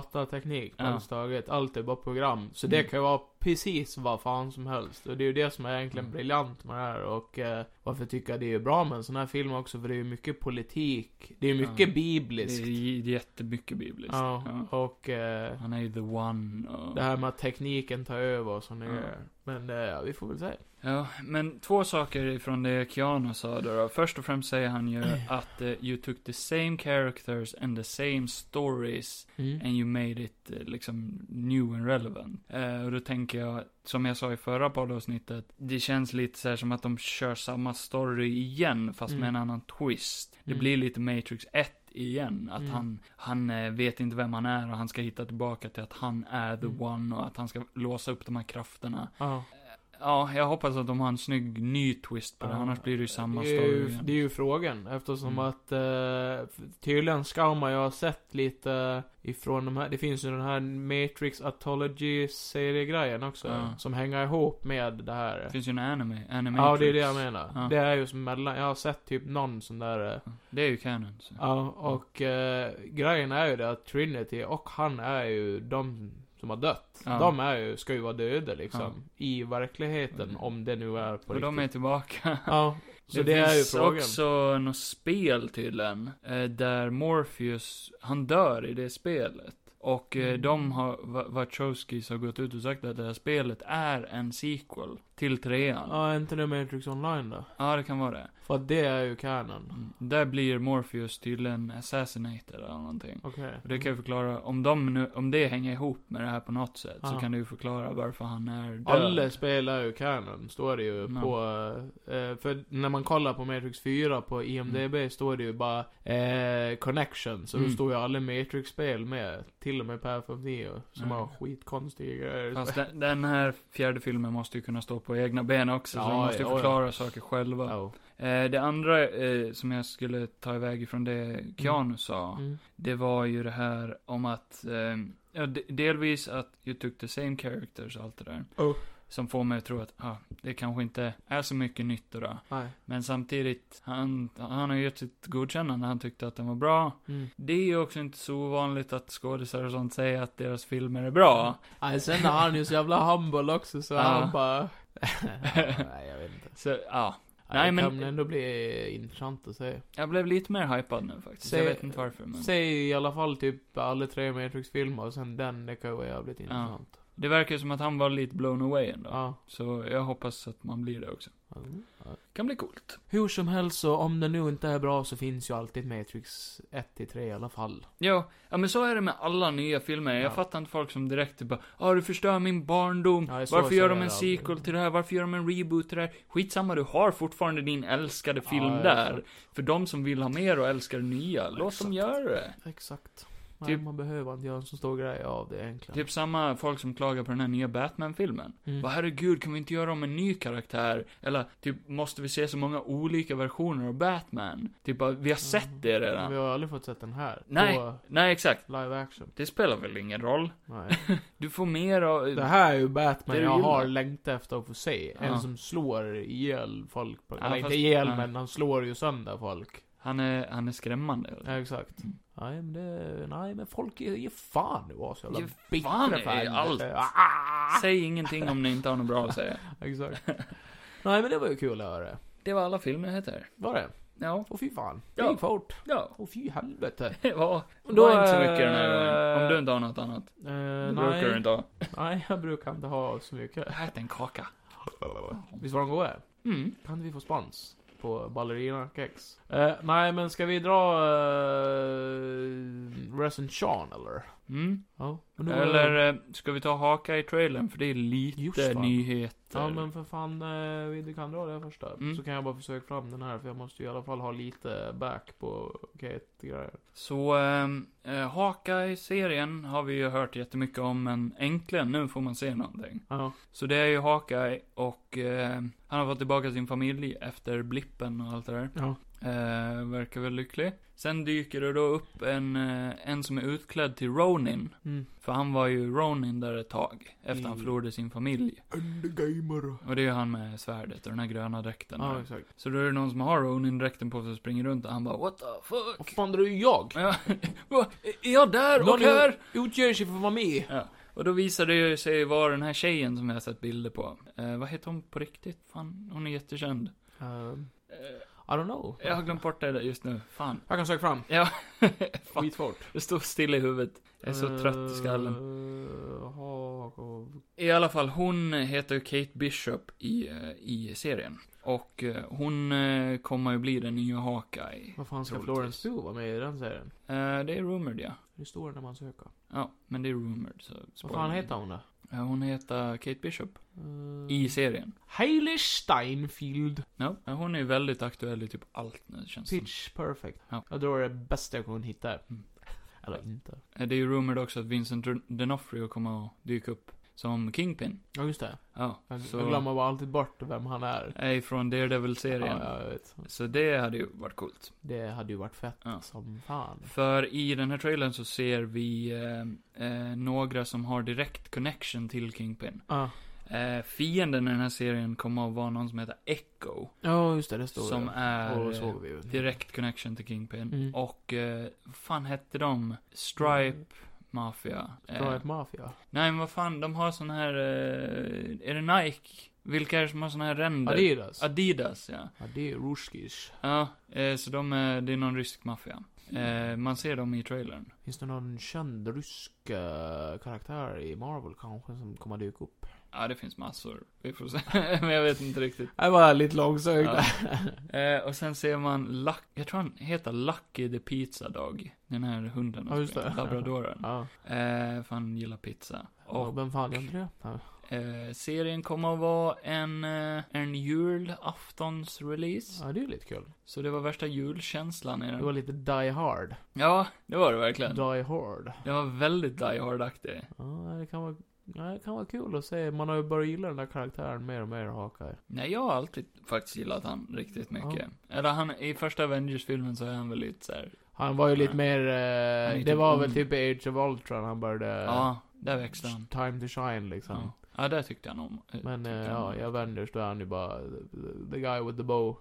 datateknik på Ja. ja. taget. Allt är bara program. Så det Mm. kan ju vara precis vad fan som helst. Och det är ju det som är egentligen Mm. briljant med det här. Och eh, varför tycker jag det är bra med en sån här film också? För det är ju mycket politik. Det är ju Ja. mycket Det är bibliskt. j- jättemycket bibliskt. Ja. Ja. Och eh, Han är ju the one och... det här med att tekniken tar över och sånt Ja. där. Men eh, ja, vi får väl se. Ja, men två saker ifrån det Keanu sa då, då. Först och främst säger han Mm. ju att eh, you took the same characters and the same stories Mm. and you made it eh, liksom new and relevant. Eh, och då tänker jag, som jag sa i förra poddavsnittet, det känns lite så här som att de kör samma story igen fast med Mm. en annan twist. Det Mm. blir lite Matrix 1 igen, att Mm. han, han eh, vet inte vem han är och han ska hitta tillbaka till att han är the Mm. one och att han ska låsa upp de här krafterna. Ja. Ja, jag hoppas att de har en snygg ny twist på det, Ja, annars blir det ju samma det är story ju, igen. det är ju frågan, eftersom Mm. att eh, tydligen ska man ju ha sett lite ifrån de här, det finns ju den här Matrix Atology seriegrejen också, Ja. som hänger ihop med det här. Det finns ju en anime, anime ja, det är det jag menar. Ja. Det är ju som mellan, jag har sett typ någon sån där, eh, Det är ju canon. Så. ja, och eh, grejen är ju det att Trinity och han är ju de som har dött. Ja. De är ju, ska ju vara döda liksom, i verkligheten, om det nu är på och Mm. de är riktigt. tillbaka. Ja, så det, är ju finns frågan. också något spel tydligen, eh, där Morpheus, han dör i det spelet. Och Mm. eh, de har, Va- Wachowskis har gått ut och sagt att det här spelet är en sequel till trean. Ja, Ja, är inte det Matrix Online då? det kan vara det. För att det är ju canon. Mm. Där blir Morpheus tydligen assassinated eller någonting. Okej. Och det kan ju förklara, om, de nu, om det hänger ihop med det här på något sätt, så Ja. kan det ju förklara varför han är död. Mm. Alla spel är ju canon, står det ju Ja. på... Eh, för när man kollar på Matrix 4 på IMDB står det ju bara eh, Connection, så Mm. då står ju alla Matrix-spel med. Till och med Perfect Neo, som Ja. har skitkonstiga grejer. Mm. Fast den, den här fjärde filmen måste ju kunna stå på egna ben också, så Ja, de måste ju ja, ja. förklara saker själva. Ja. Eh, det andra eh, som jag skulle ta iväg ifrån det Keanu sa, Mm. det var ju det här om att, eh, ja, de, delvis att you took the same characters och allt det där. Oh. Som får mig att tro att, ah, det kanske inte är så mycket nytt då. Nej. Men samtidigt, han, han har ju gett sitt godkännande, han tyckte att den var bra. Mm. Det är ju också inte så ovanligt att skådisar och sånt säger att deras filmer är bra. Nej, sen är han ju så jävla humble också, så Ja. han bara... Nej, jag vet inte. Så, ja. Nej, Nej, men... men- Det kan ändå bli intressant att se. Jag blev lite mer hypad nu faktiskt. Säg- jag vet inte varför, men. Säg i alla fall typ alla tre Matrix-filmer och sen den, det kan ju vara jävligt intressant. Det verkar som att han var lite blown away Ja. ändå. Så jag hoppas att man blir det också. Mm. Ja. Kan bli coolt. Hur som helst så, om det nu inte är bra så finns ju alltid Matrix 1-3 i alla fall. Ja, ja men så är det med alla nya filmer. Jag Ja. fattar inte folk som direkt är bara ah, du förstör min barndom. Ja, så Varför säger gör de jag en aldrig. sequel till det här? Varför gör de en reboot till det här? Skitsamma, du har fortfarande din älskade Ja, film exakt. där. För de som vill ha mer och älskar det nya, låt dem Exakt. göra det. Exakt. Nej, Typ- man behöver inte göra en så stor grej av det egentligen. Typ samma folk som klagar på den här nya Batman-filmen. Mm. Vad herregud, kan vi inte göra om en ny karaktär? Eller, typ, måste vi se så många olika versioner av Batman? Typ, bara, vi har Mm. sett det redan. Vi har aldrig fått sett den här. Nej. På Nej, exakt. live action. Det spelar väl ingen roll? Nej. Du får mer av... Det här är ju Batman Det du jag gillar. har längtat efter att få se. Ja. En som slår ihjäl folk. På, Ja, eller fast- inte ihjäl, nej. men han slår ju sönder folk. Han är, han är skrämmande. Ja, exakt. Mm. Nej, men det... Nej, men folk är- ge fan i vad så jävla Ge bittra fan i fan. allt. Ah! Säg ingenting om ni inte har något bra att säga. Exakt. Nej, men det var ju kul att höra. Det var alla filmnyheter. Var det? Ja, Åh fy fan. Det Ja. gick fort. ja. Åh fy helvete. Det var, det Då, var inte så mycket den här eh, gången. Om du inte har något annat. Eh, Det brukar du nej, inte ha. nej, jag brukar inte ha så mycket. Ät en kaka. Visst var de goda? Mm. Kan inte vi få spons? På ballerinakex? Eh, nej, men ska vi dra eh, Resident Sean eller? Mm. Ja. men då- Eller, eh, ska vi ta haka i trailern? För det är Just lite fan. nyheter. Ja men för fan, eh, vi du kan dra det första. Mm. Så kan jag bara försöka fram den här för jag måste ju i alla fall ha lite back på Kate-grejer. Så, eh, haka i serien har vi ju hört jättemycket om, men äntligen nu får man se någonting. Ja. Så det är ju Hawkeye och eh, han har fått tillbaka sin familj efter blippen och allt det där. Ja. Eh, verkar väl lycklig. Sen dyker det då upp en, eh, en som är utklädd till Ronin. Mm. För han var ju Ronin där ett tag. Efter han Mm. förlorade sin familj. Undergamer. Och det är ju han med svärdet och den här gröna dräkten. Ja, där. exakt. Så då är det någon som har Ronin-dräkten på sig och springer runt och han bara What the Vad fuck? fan, det är ju jag! Ja, va? är jag där och Någon är- här? Utger sig för att vara med. Och då visar det ju sig vara den här tjejen som jag har sett bilder på. Eh, vad heter hon på riktigt? Fan, hon är jättekänd. Um, Eh, I don't know. jag har glömt bort det där just nu. Fan. Jag kan söka fram. Ja. Fan, Skitsvårt. det står still i huvudet. Jag är så trött i skallen. Eh, Hagov- I alla fall, hon heter Kate Bishop i, eh, i serien. Och eh, hon eh, kommer ju bli den nya Hawkeye. Vad fan ska Troligtvis. Florence Pugh vara med i den serien? Eh, det är rumored, ja. Hur står det när man söker? Ja, men det är rumored, så... Vad fan heter hon då? hon? hon heter Kate Bishop. Eh, I serien. Hailey Steinfeld. Ja, men hon är ju väldigt aktuell i typ allt nu, känns det som. Pitch perfect. Ja. Jag drar det bästa jag kunde hitta. Mm. Eller inte. Eh, Det är ju rumored också att Vincent D'On- D'Onofrio kommer att dyka upp som Kingpin. Ja, just det. Ja, Jag, så... jag glömmer bara alltid bort vem han är. är från Daredevil-serien. Ja, jag vet. Så det hade ju varit coolt. Det hade ju varit fett Ja. som fan. För i den här trailern så ser vi eh, eh, några som har direkt connection till Kingpin. Ja, Eh, fienden i den här serien kommer att vara någon som heter Echo. Ja, just det. Det står Som det. är Och eh, såg vi ju. direkt connection till Kingpin. Mm. Och eh, vad fan hette de? Stripe Mafia. Dra Eh, ett Mm. Mafia. nej men vad fan, de har sån här, eh, är det Nike? Vilka är det som har sån här ränder? Adidas. Adidas ja. Ja, det är Ruskis. Ja, eh, så de är, det är någon rysk maffia. Eh, man ser dem i trailern. Finns det någon känd rysk eh, karaktär i Marvel kanske som kommer dyka upp? Ja, det finns massor. Vi får se. Men jag vet inte riktigt. Det var lite långsökt. Ja. Eh, och sen ser man Luck, jag tror han heter Lucky the Pizza Dog. Den här hunden. Ja, just det. Labradoren. Ja. Eh, för han gillar pizza. Och Vem fan gör inte det? Ja. eh, serien kommer att vara en, eh, en julaftonsrelease. ja, det är ju lite kul. Så det var värsta julkänslan i Det var den. lite Die Hard. Ja, det var det verkligen. Die Hard. Det var väldigt Die Hard-aktig. Ja, det kan vara... Ja, det kan vara kul att se. Man har ju börjat gilla den där karaktären mer och mer, Hawkeye. Nej, jag har alltid faktiskt gillat han riktigt mycket. Eller han, i första Avengers-filmen så är han väl lite såhär, Han var ju lite Ja. mer... Han är Eh, det typ var ung. väl typ Age of Ultron han började... ja, där växte han. Time to shine liksom. Ja. ja, där tyckte han om. eh, Men eh, tyckte han ja, om. i Avengers då är han ju bara the- the guy with the bow.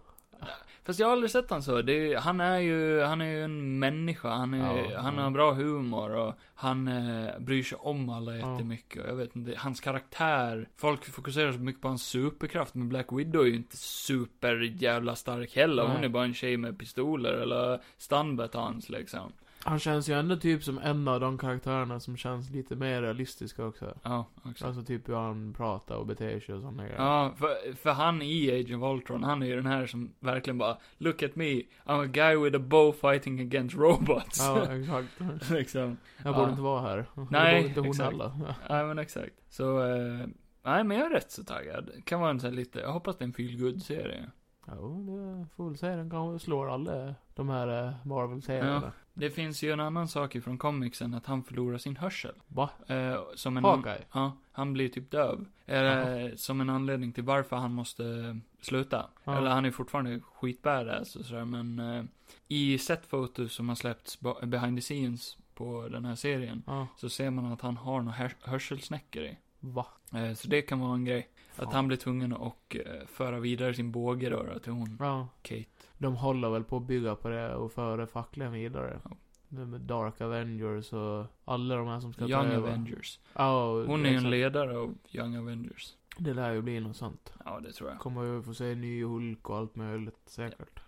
Fast jag har aldrig sett han så. Det är, han är ju, han är ju en människa. Han, är, Ja, han ja. har bra humor och han eh, bryr sig om alla Ja. jättemycket. Och jag vet inte, hans karaktär. Folk fokuserar så mycket på hans superkraft. Men Black Widow är ju inte super jävla stark heller. Hon Nej. är bara en tjej med pistoler eller stannbetons liksom. Han känns ju ändå typ som en av de karaktärerna som känns lite mer realistiska också. Ja, också. Alltså typ hur han pratar och beter sig och sådana grejer. Ja, för, för han i Age of Ultron, han är ju den här som verkligen bara Look at me, I'm a guy with a bow fighting against robots. Ja, exakt. liksom. Jag Ja. borde inte vara här. Nej, det borde inte hon exakt. heller. Nej men exakt. Så, eh, nej men jag är rätt så taggad. Kan vara en sån här lite, jag hoppas det är en feel good serie Jo, det får väl säga. Den kanske slår alla de här eh, Marvel-serierna. Det finns ju en annan sak ifrån comicsen, att han förlorar sin hörsel. Va? Eh, som en an- Hawkeye? Ja, han blir typ döv. Eh, som en anledning till varför han måste sluta. Ja. Eller han är fortfarande skitbadass och sådär, men eh, i setfotos som har släppts ba- behind the scenes på den här serien Ja. så ser man att han har några hör- hörselsnäckor i. Va? Eh, så det kan vara en grej. Att Fan. han blir tvungen att eh, föra vidare sin båge då, då till hon, Ja. Kate. De håller väl på att bygga på det och föra facklan vidare. Ja. Det med Dark Avengers och alla de här som ska Young ta över. Avengers. Ja, och- Hon är ju en exakt. ledare av Young Avengers. Det lär ju bli något sånt. Ja, det tror jag. Kommer ju få se ny Hulk och allt möjligt säkert.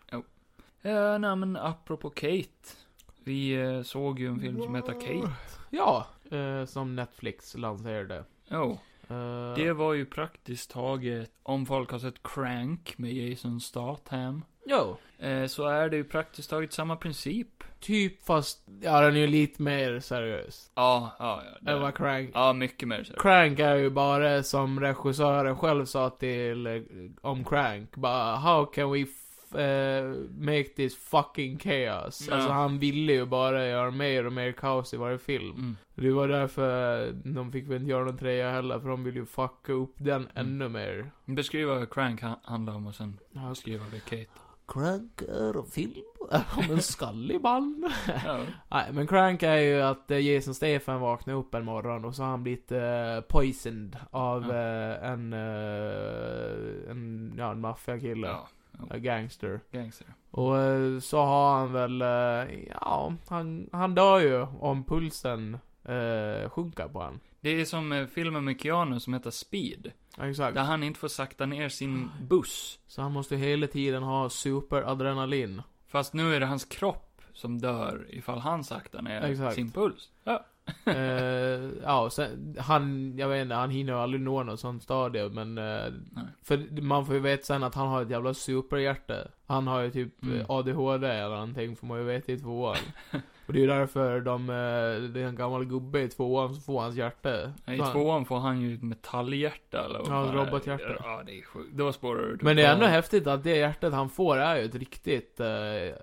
Eh, nej men apropå Kate. Vi eh, såg ju en film som heter Kate. Ja! Eh, som Netflix lanserade. Oh. Eh, Det var ju praktiskt taget, om folk har sett Crank med Jason Statham. Jo. Eh, så är det ju praktiskt taget samma princip. Typ fast, ja den är ju lite mer seriös. Ja, ja, ja. Än det- vad Crank Ja, mycket mer så. Crank är ju bara som regissören själv sa till eh, om Crank. Bara, how can we f- eh, make this fucking chaos? Ja. Alltså han ville ju bara göra mer och mer kaos i varje film. Mm. Det var därför eh, de fick väl inte göra någon trea heller, för de ville ju fucka upp den ännu mer. Beskriv vad Crank ha- handlar om och sen Ja, beskriva vad Kate. Alltså, Crank är en film om en skallig man. Ja. Nej, men Crank är ju att eh, Jason Stefan vaknar upp en morgon och så har han blivit eh, poisoned av Ja. eh, en, eh, en, ja, en maffiakille. ja. En gangster. Gangster. Och eh, så har han väl, eh, ja, han, han dör ju om pulsen eh, sjunker på han. Det är som eh, filmen med Keanu som heter Speed. Ja, exakt. Där han inte får sakta ner sin buss. Så han måste hela tiden ha superadrenalin. Fast nu är det hans kropp som dör ifall han saktar ner Exakt. sin puls. Ja. Eh, ja, sen, han, jag vet inte, han hinner ju aldrig nå något sånt stadie, men... eh, Nej. för man får ju veta sen att han har ett jävla superhjärta. Han har ju typ Mm. eh, ADHD eller någonting, får man ju veta i tvåan. Och det är ju därför de, eh, det är en gammal gubbe i tvåan som får hans hjärta. I Så han- tvåan får han ju ett metallhjärta eller vad Ja, fan det är. robothjärta. Ja, det är sjukt. Då spårar du Men det är ändå totalt. häftigt att det hjärtat han får är ju ett riktigt, eh,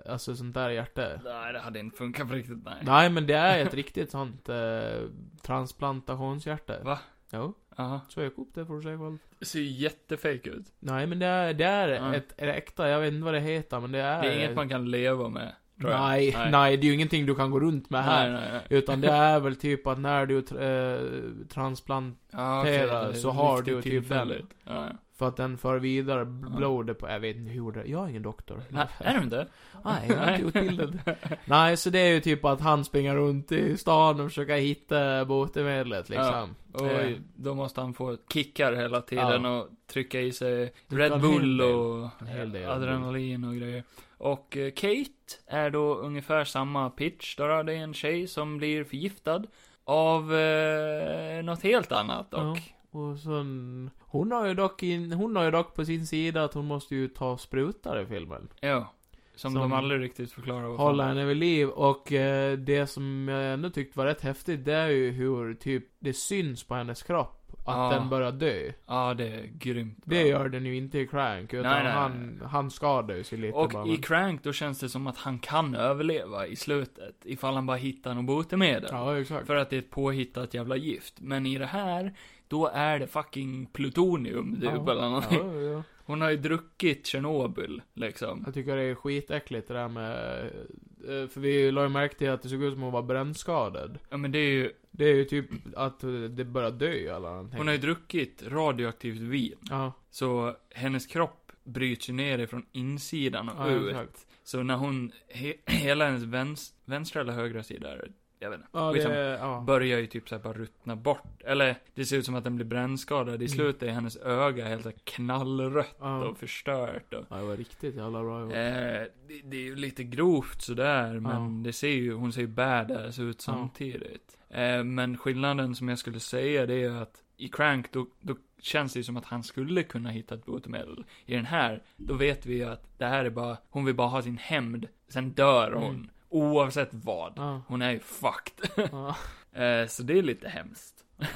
alltså sånt där hjärta. Nej, det hade inte funkat på riktigt, nej. Nej men det är ett riktigt sånt eh, transplantationshjärta. Va? Jo, Jaha. så jag upp det får du säga själv. Det ser ju jättefejk ut. Nej men det är, det är Nej. ett, ett äkta, jag vet inte vad det heter men det är... Det är inget man kan leva med, tror jag. nej, nej, det är ju ingenting du kan gå runt med här. Nej, nej, nej. Utan det är väl typ att när du eh, transplant, Ja, okej, det är så har riktigt du typ tillfälligt. Ja. ja. för att den för vidare Ja. blodet på, jag vet inte hur det, jag är ingen doktor. Nej, är du inte? Nej, jag är inte utbildad. Nej, så det är ju typ att han springer runt i stan och försöker hitta botemedlet liksom. Eh. Oj, då måste han få kickar hela tiden och trycka i sig en Red hel Bull del. och En hel del adrenalin och grejer. Och eh, Kate är då ungefär samma pitch. Där har det en tjej som blir förgiftad av eh, något helt annat dock. Och sen, hon har ju dock in, hon har ju dock på sin sida att hon måste ju ta sprutar i filmen. Ja. Som, Som de aldrig riktigt förklarar vad Hålla fan- henne vid liv och eh, det som jag ändå tyckte var rätt häftigt det är ju hur typ det syns på hennes kropp att Ja. den börjar dö. Ja, det är grymt bra. Det gör den ju inte i Crank utan Nej, nej, han, han skadar ju sig lite bara. Och i men- Crank då känns det som att han kan överleva i slutet. Ifall han bara hittar något botemedel. Ja, exakt. För att det är ett påhittat jävla gift. Men i det här, då är det fucking plutonium typ Ja. eller någonting. Ja, ja. Hon har ju druckit Tjernobyl, liksom. Jag tycker det är skitäckligt det där med... eh, För vi la ju märke till att det såg ut som hon var brännskadad. Ja men det är ju, Det är ju typ att eh, det börjar dö eller någonting. hon har ju druckit radioaktivt vin. Ja, Så hennes kropp bryts ju ner ifrån insidan och ja ut. exakt. Så när hon, he, hela hennes vänst, vänstra eller högra sida, är- jag vet inte. Ja, Skitsamma. det, ja. Börjar ju typ såhär bara ruttna bort. Eller, det ser ut som att den blir brännskadad. I Mm. slutet är hennes öga helt såhär knallrött Ja. och förstört och ja, det var riktigt jävla bra gjort. Eh, det, det är ju lite grovt sådär, men Ja. det ser ju, hon ser ju badass ut samtidigt. Eh, men skillnaden som jag skulle säga det är att i Crank, då, då känns det ju som att han skulle kunna hitta ett botemedel. I den här, då vet vi ju att det här är bara, hon vill bara ha sin hämnd, sen dör hon. Mm. Oavsett vad. Ja. Hon är ju fucked. Ja. eh, så det är lite hemskt. Ja,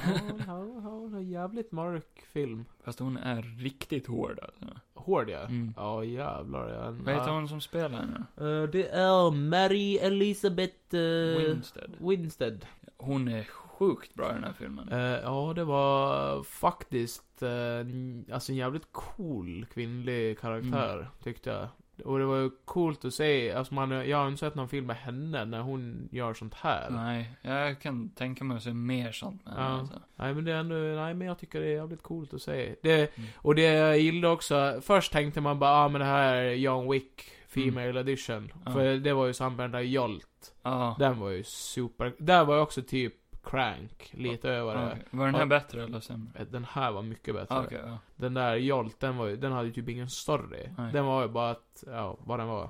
ja, ja, jävligt mörk film. Fast hon är riktigt hård alltså. Hård ja. Mm. Ja jävlar ja. Vad heter hon som spelar henne? Eh, det är Mary Elizabeth eh, Winstead. Winstead. Hon är sjukt bra i den här filmen. Eh, ja, det var faktiskt eh, en- alltså en jävligt cool kvinnlig Mm. karaktär, tyckte jag. Och det var ju coolt att se, alltså man, jag har inte sett någon film med henne när hon gör sånt här. Nej, Nej, jag kan tänka mig att se mer sånt med Ja. henne, alltså. men det är ändå, nej men jag tycker det är jävligt coolt att se. Det, Mm. och det jag gillade också, först tänkte man bara, ah men det här är John Wick, Female Edition. Mm. Ja. För det var ju samma med den där Jolt. Ja. Den var ju super, där var ju också typ Crank, lite över det. Okej. Var den här Ja. bättre eller sämre? Den här var mycket bättre. Ah, Okej, ja. Den där Jolt, den, var ju, den hade ju typ ingen story. Nej. Den var ju bara att, ja, vad den var.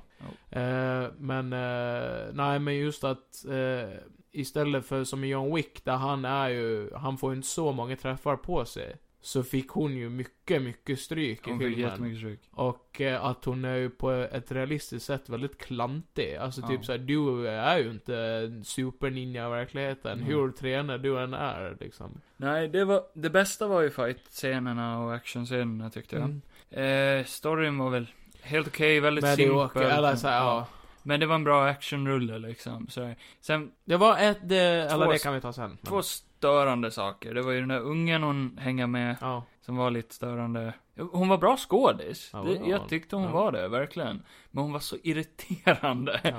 Eh, men, eh, nej men just att, eh, istället för som i John Wick, där han är ju, han får ju inte så många träffar på sig. Så fick hon ju mycket, mycket stryk Hon i fick filmen. jättemycket stryk. Och eh, att hon är ju på ett realistiskt sätt väldigt klantig. Alltså Ja. typ såhär, du är ju inte en superninja i verkligheten. Mm. Hur tränad du än är liksom. Nej, det var, det bästa var ju fight-scenerna och actionscenerna tyckte jag. Mm. Eh, storyn var väl helt okej, väldigt Medioker, simpel. eller såhär, ja. Men det var en bra actionrulle liksom, sådär. Sen, Det var ett, eh, eller Två- det kan vi ta sen. men- två störande saker. Det var ju den där ungen hon hänger med, Ja. som var lite störande. Hon var bra skådis. Ja, det, ja. jag tyckte hon Ja. var det, verkligen. Men hon var så irriterande. Ja.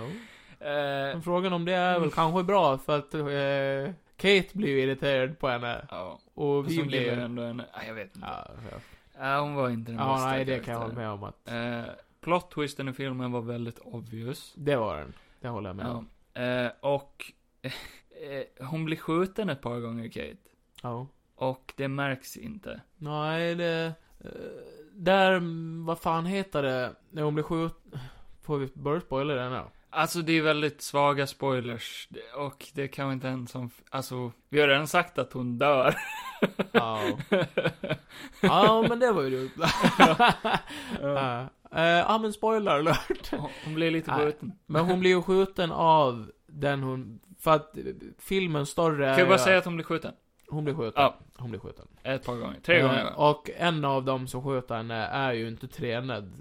Eh, Men frågan om det är väl kanske bra för att eh, Kate blir ju irriterad på henne. ja. Och Och vi som blev blir... ändå en... Ah, jag vet inte. Ja, ja. Ah, hon var inte den ja bästa nej det kan jag hålla karaktären. med om att... Eh, plot twisten i filmen var väldigt obvious. Det var den. Det håller jag med om. Ja. Eh, och eh, hon blir skjuten ett par gånger, Kate. Ja. Och det märks inte. Nej, det... eh, Där, mm, vad fan heter det? När hon blir skjut... Får vi börja spoila den då? Alltså det är väldigt svaga spoilers. Det- Och det kan inte ens som... Alltså, vi har redan sagt att hon dör. Ja. ja, men det var ju dumt. ja. Eh, ja, men spoiler alert. Hon- Hon blir lite Nej. skjuten. Men hon blir ju skjuten av den hon... För att eh, filmen större... Kan är jag bara ju säga att att hon blir skjuten? Hon blir skjuten. Ja. Hon blir skjuten. Ett par gånger. Tre gånger. Eh, va? Och en av dem som sköt henne är ju inte tränad,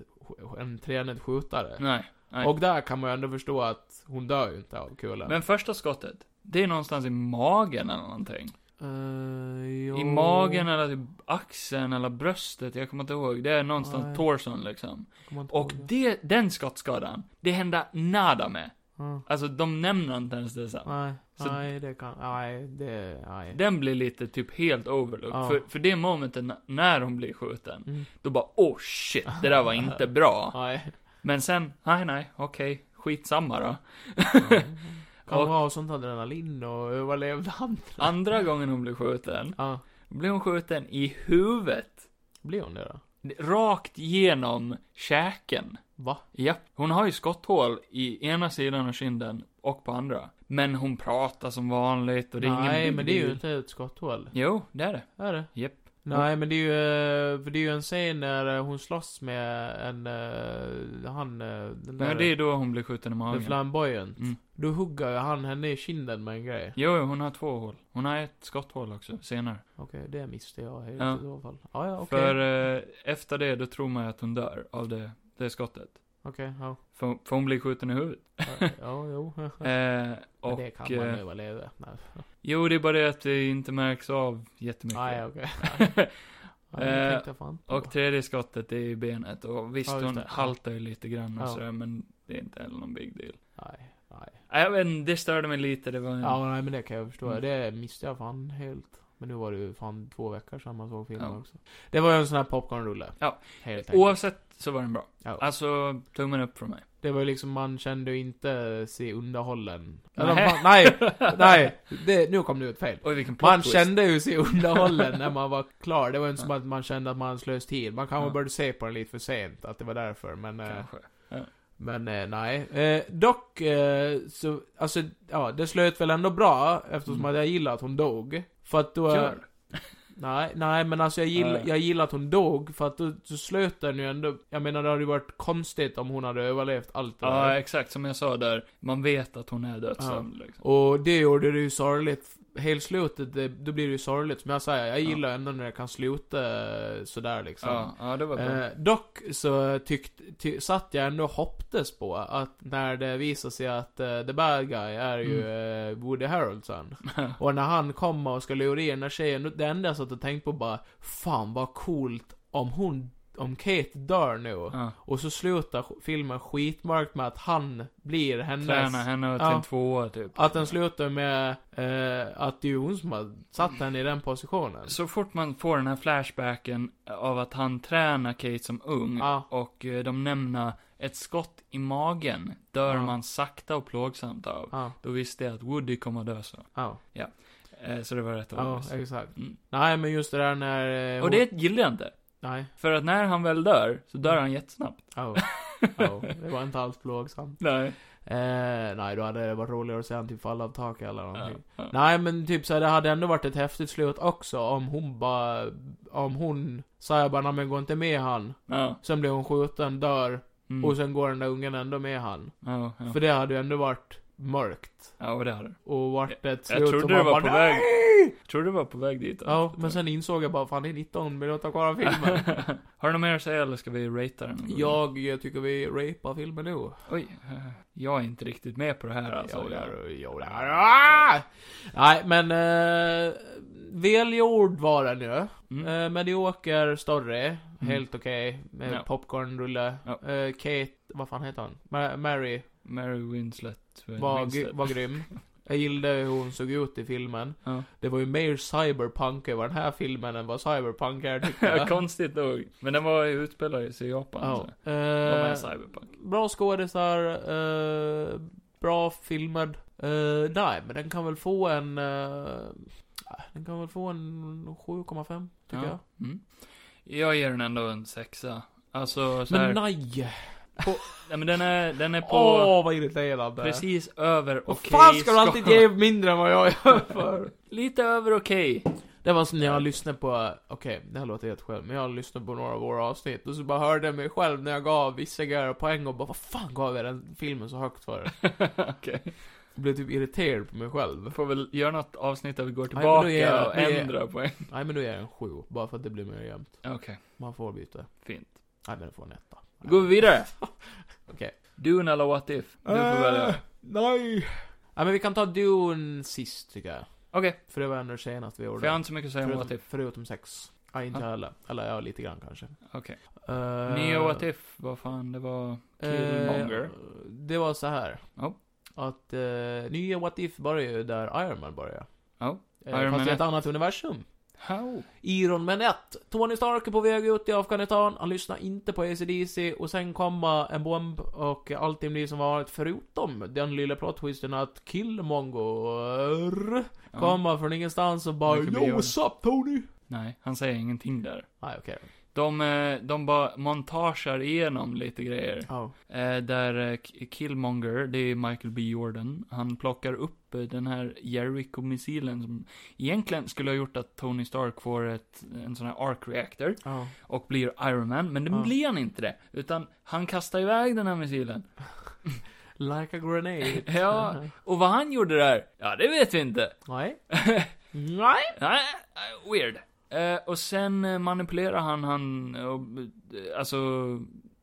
en tränad skjutare. Nej. nej. Och där kan man ju ändå förstå att hon dör ju inte av kulan. Men första skottet, det är någonstans i magen eller någonting. Eh, jo. I magen eller typ axeln eller bröstet, jag kommer inte ihåg. Det är någonstans Nej. torson liksom. Kommer inte Och ihåg det, den skottskadan, det hände nada med. Ja. Alltså de nämner inte ens det sen. Nej, Så- nej det kan, nej det, nej. Den blir lite typ helt overlooked. Ja. För, för det momentet n- när hon blir skjuten, Mm. då bara oh shit, det där var inte bra. Nej. Men sen, nej nej, okej, skitsamma då. Kan Och- vara ha sånt adrenalin och överlevnad. Andra gången hon blir skjuten, Ja, blir hon skjuten i huvudet. blir hon det då? Rakt genom käken. Va? Japp. Hon har ju skotthål i ena sidan av kinden och på andra. Men hon pratar som vanligt och det är ingen Nej, bild. men det är ju inte ett skotthål. Jo, det är det. Är det? Japp. Nej, men det är ju, eh, för det är ju en scen när eh, hon slåss med en, eh, han, eh, den där, Men det är då hon blir skjuten i the magen. flamboyant. Mm. Då hugger ju han henne i kinden med en grej. Jo, jo, hon har två hål. Hon har ett skotthål också, senare. Okej, det misste jag helt Ja. i så fall. Ja, ja, okej. För eh, efter det, då tror man ju att hon dör av det, det skottet. Okej, ja. För, för hon blir skjuten i huvudet. Ja, Ja, jo. Eh, Men och, det kan man eh, ju överleva. Nej, Jo, det är bara det att det inte märks av jättemycket. Nej, okej. Ja, det Eh, tänkte jag fan inte på. Och tredje skottet det är i benet och visst Ja, just hon det. Ja. haltar ju lite grann och Ja. sådär men det är inte heller någon big deal. Nej, nej. Nej, Jag vet inte, det störde mig lite, det var en... Ja, nej, men det kan jag förstå. Mm. Det misste jag fan helt. Men nu var det ju fan två veckor sedan man såg filmen Ja. också. Det var ju en sån här popcornrulle. Ja. Helt enkelt. Oavsett så var den bra. Ja. Alltså, tummen upp från mig. Det var ju liksom, man kände ju inte sig underhållen. Nej. Eller, fan, nej, nej, det, nu kom det ut fel. Oj vilken plot Man twist. kände ju sig underhållen när man var klar. Det var inte som att man kände att man slös tid. Man kanske Ja. började se på den lite för sent, att det var därför. Men, eh, Kanske. men eh, nej. Eh, dock, eh, så, alltså, ja, det slöt väl ändå bra eftersom Mm. att jag gillade att hon dog. För att då... Kör. Nej, nej men alltså jag gillar, Nej. jag gillar att hon dog för att då, då slöt den ju ändå... Jag menar det hade ju varit konstigt om hon hade överlevt allt det där. Ja, exakt som jag sa där. Man vet att hon är dödsdömd liksom. Och det gjorde det ju sorgligt. Helt slutet, det, då blir det ju sorgligt. Som jag säger, jag gillar ändå när det kan sluta eh, sådär liksom. Ja, ja, det var bra. Eh, dock så tyckt, ty, satt jag ändå och hoppades på att när det visar sig att eh, the bad guy är ju Mm. eh, Woody Harrelson. och när han kommer och ska lura i den där tjejen, det enda jag satt och tänkte på bara, fan vad coolt om hon, om Kate dör nu. ja. Och så slutar sk- filmen skitmörkt med att han blir hennes... Träna henne till Ja. en tvåa typ. Att den slutar med eh, att det är ju hon som har satt henne i den positionen. Så fort man får den här flashbacken av att han tränar Kate som ung Ja. och eh, de nämner ett skott i magen dör Ja. man sakta och plågsamt av. Ja, Då visste jag att Woody kommer att dö så. ja, Eh, Så det var rätt ja, obvious. exakt. Mm. Nej, men just det där när... eh, Och hon- det gillar jag inte. Nej. För att när han väl dör, så Mm. dör han jättesnabbt. Oh. Oh. Det var inte alls plågsamt. Nej. Eh, nej, då hade det varit roligare att se han typ falla av taket eller Ja, någonting. ja. Nej, men typ såhär, det hade ändå varit ett häftigt slut också om hon bara... Om hon säger bara, "Nej, men gå inte med han. Ja. Sen blir hon skjuten, dör, Mm. och sen går den där ungen ändå med han. Ja, ja. För det hade ju ändå varit mörkt. ja, och det hade Och vart ett slut Jag trodde som det man var bara, på "Nej!" väg. Tror du var på väg dit? Ja, men sen insåg jag bara, fan det är 19 minuter kvar av filmen. Har du något mer att säga eller ska vi ratea den? jag, jag tycker vi rapar filmen nu. Oj, eh, jag är inte riktigt med på det här alltså. Jo, där, jo, där. Ah! Nej, men... Eh, välgjord var den ju. Mm. Eh, medioker, större. Helt okej. Med Ja. popcornrulle. Ja. Eh, Kate, vad fan heter han? Ma- Mary Mary Winslet. eh, var, Winslet. gry- var grym. Jag gillade hur hon såg ut i filmen. Ja. Det var ju mer cyberpunk över den här filmen än vad cyberpunk är tyckte jag. Konstigt nog. Men den var ju utspelad i Japan. Ja. Så. Eh, Var med Cyberpunk. bra skådisar, eh, bra filmad. Eh, nej, men den kan väl få en... eh, den kan väl få en 7,5, tycker ja. jag. Mm. Jag ger den ändå en sexa. Alltså så här, Men nej! nej, men den är, den är på Åh, vad irriterande. precis över okej. Vad fan ska du alltid skala. ge mindre än vad jag gör för? Lite över okej. Det var som när jag lyssnade på, okej, det här låter helt själv, men jag lyssnade på några av våra avsnitt och så bara hörde jag mig själv när jag gav vissa grejer poäng och bara vad fan gav jag den filmen så högt för? Okej. Jag blev typ irriterad på mig själv. Får väl göra något avsnitt där vi går men då tillbaka ger jag- och då ger- ändrar poäng. Nej men nu är jag en sju, bara för att det blir mer jämnt. Okej, Man får byta. fint. Nej men det får en etta. Då går vi vidare. Okej. Dune eller What If? Du Eh. får välja. Nej! Nej men vi kan ta Dune sist tycker jag. Okej, För det var ändå senast vi för gjorde. jag har inte så mycket att säga om What förutom, If. förutom sex. Nej inte Ja. heller. Eller ja, lite grann kanske. Okej. Uh, Neo What If, vad fan, det var... Killmonger. Eh, det var så här. Ja. Att eh, nya What If börjar ju där Iron Man börjar. Ja. Eh, Iron fast Man i ett 1. annat universum. How? Iron Man 1. Tony Stark är på väg ut i Afghanistan, han lyssnar inte på ACDC och sen kommer en bomb och allting blir som vanligt förutom den lilla plot-twisten att Killmonger Ja. kommer från ingenstans och bara Mycket Yo, bra. what's up Tony? Nej, han säger ingenting där. Nej, okej. De, eh, de bara montagear igenom lite grejer. Ja. Eh, där eh, K- Killmonger, det är Michael B Jordan, han plockar upp eh, den här Jericho-missilen som egentligen skulle ha gjort att Tony Stark får ett, en sån här arc reactor Ja. och blir Iron Man, men det Ja. blir han inte det. Utan han kastar iväg den här missilen. Like a grenade. Ja, och vad han gjorde där, ja det vet vi inte. Nej. Nej. Nej, eh, weird. Eh, och sen eh, manipulerar han han, och, eh, alltså,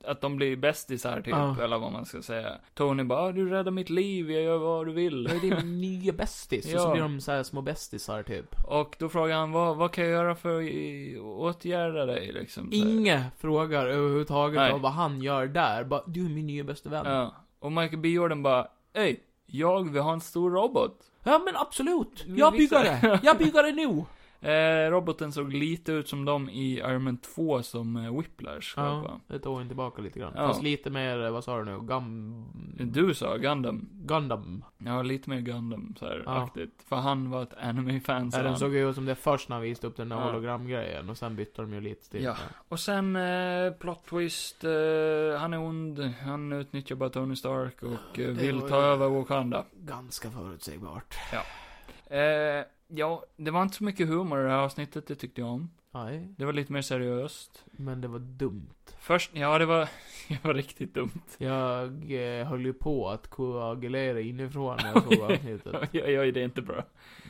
att de blir bästisar typ, Ja. eller vad man ska säga. Tony bara, "Ah, du räddar mitt liv, jag gör vad du vill. Det är din nya bästis, och Ja. så blir de så här små bästisar typ. Och då frågar han, vad, vad kan jag göra för att i- åtgärda dig liksom? så här. Inge frågar överhuvudtaget Nej. om vad han gör där. Bara, du är min nya bästa vän. Ja, Ja. Och Michael B Jordan bara, Ey, jag vill ha en stor robot. men absolut. Vi Jag fixar bygger det. Jag bygger det nu. Eh, roboten såg lite ut som de i Iron Man 2 som eh, Whiplash skapade. Ja, ett år tillbaka lite grann. Ja. Fast lite mer, eh, vad sa du nu, gam... Du sa Gundam. Gundam. Ja, lite mer Gundam så här, Ja. aktigt. För han var ett anime-fan. så Ja, den han- såg ju ut som det först när han visade upp den där Ja. hologramgrejen och sen bytte de ju lite stil. Ja. Och sen, eh, plot twist, eh, han är ond, han utnyttjar bara Tony Stark och eh, Det vill var ta ju- över Wakanda. Ganska förutsägbart. Eh, ja, det var inte så mycket humor i det här avsnittet, det tyckte jag om. Nej, Det var lite mer seriöst. men det var dumt. Först, ja det var, det var riktigt dumt. Jag eh, höll ju på att koagulera inifrån när jag såg avsnittet. Jag gör ju det är inte bra.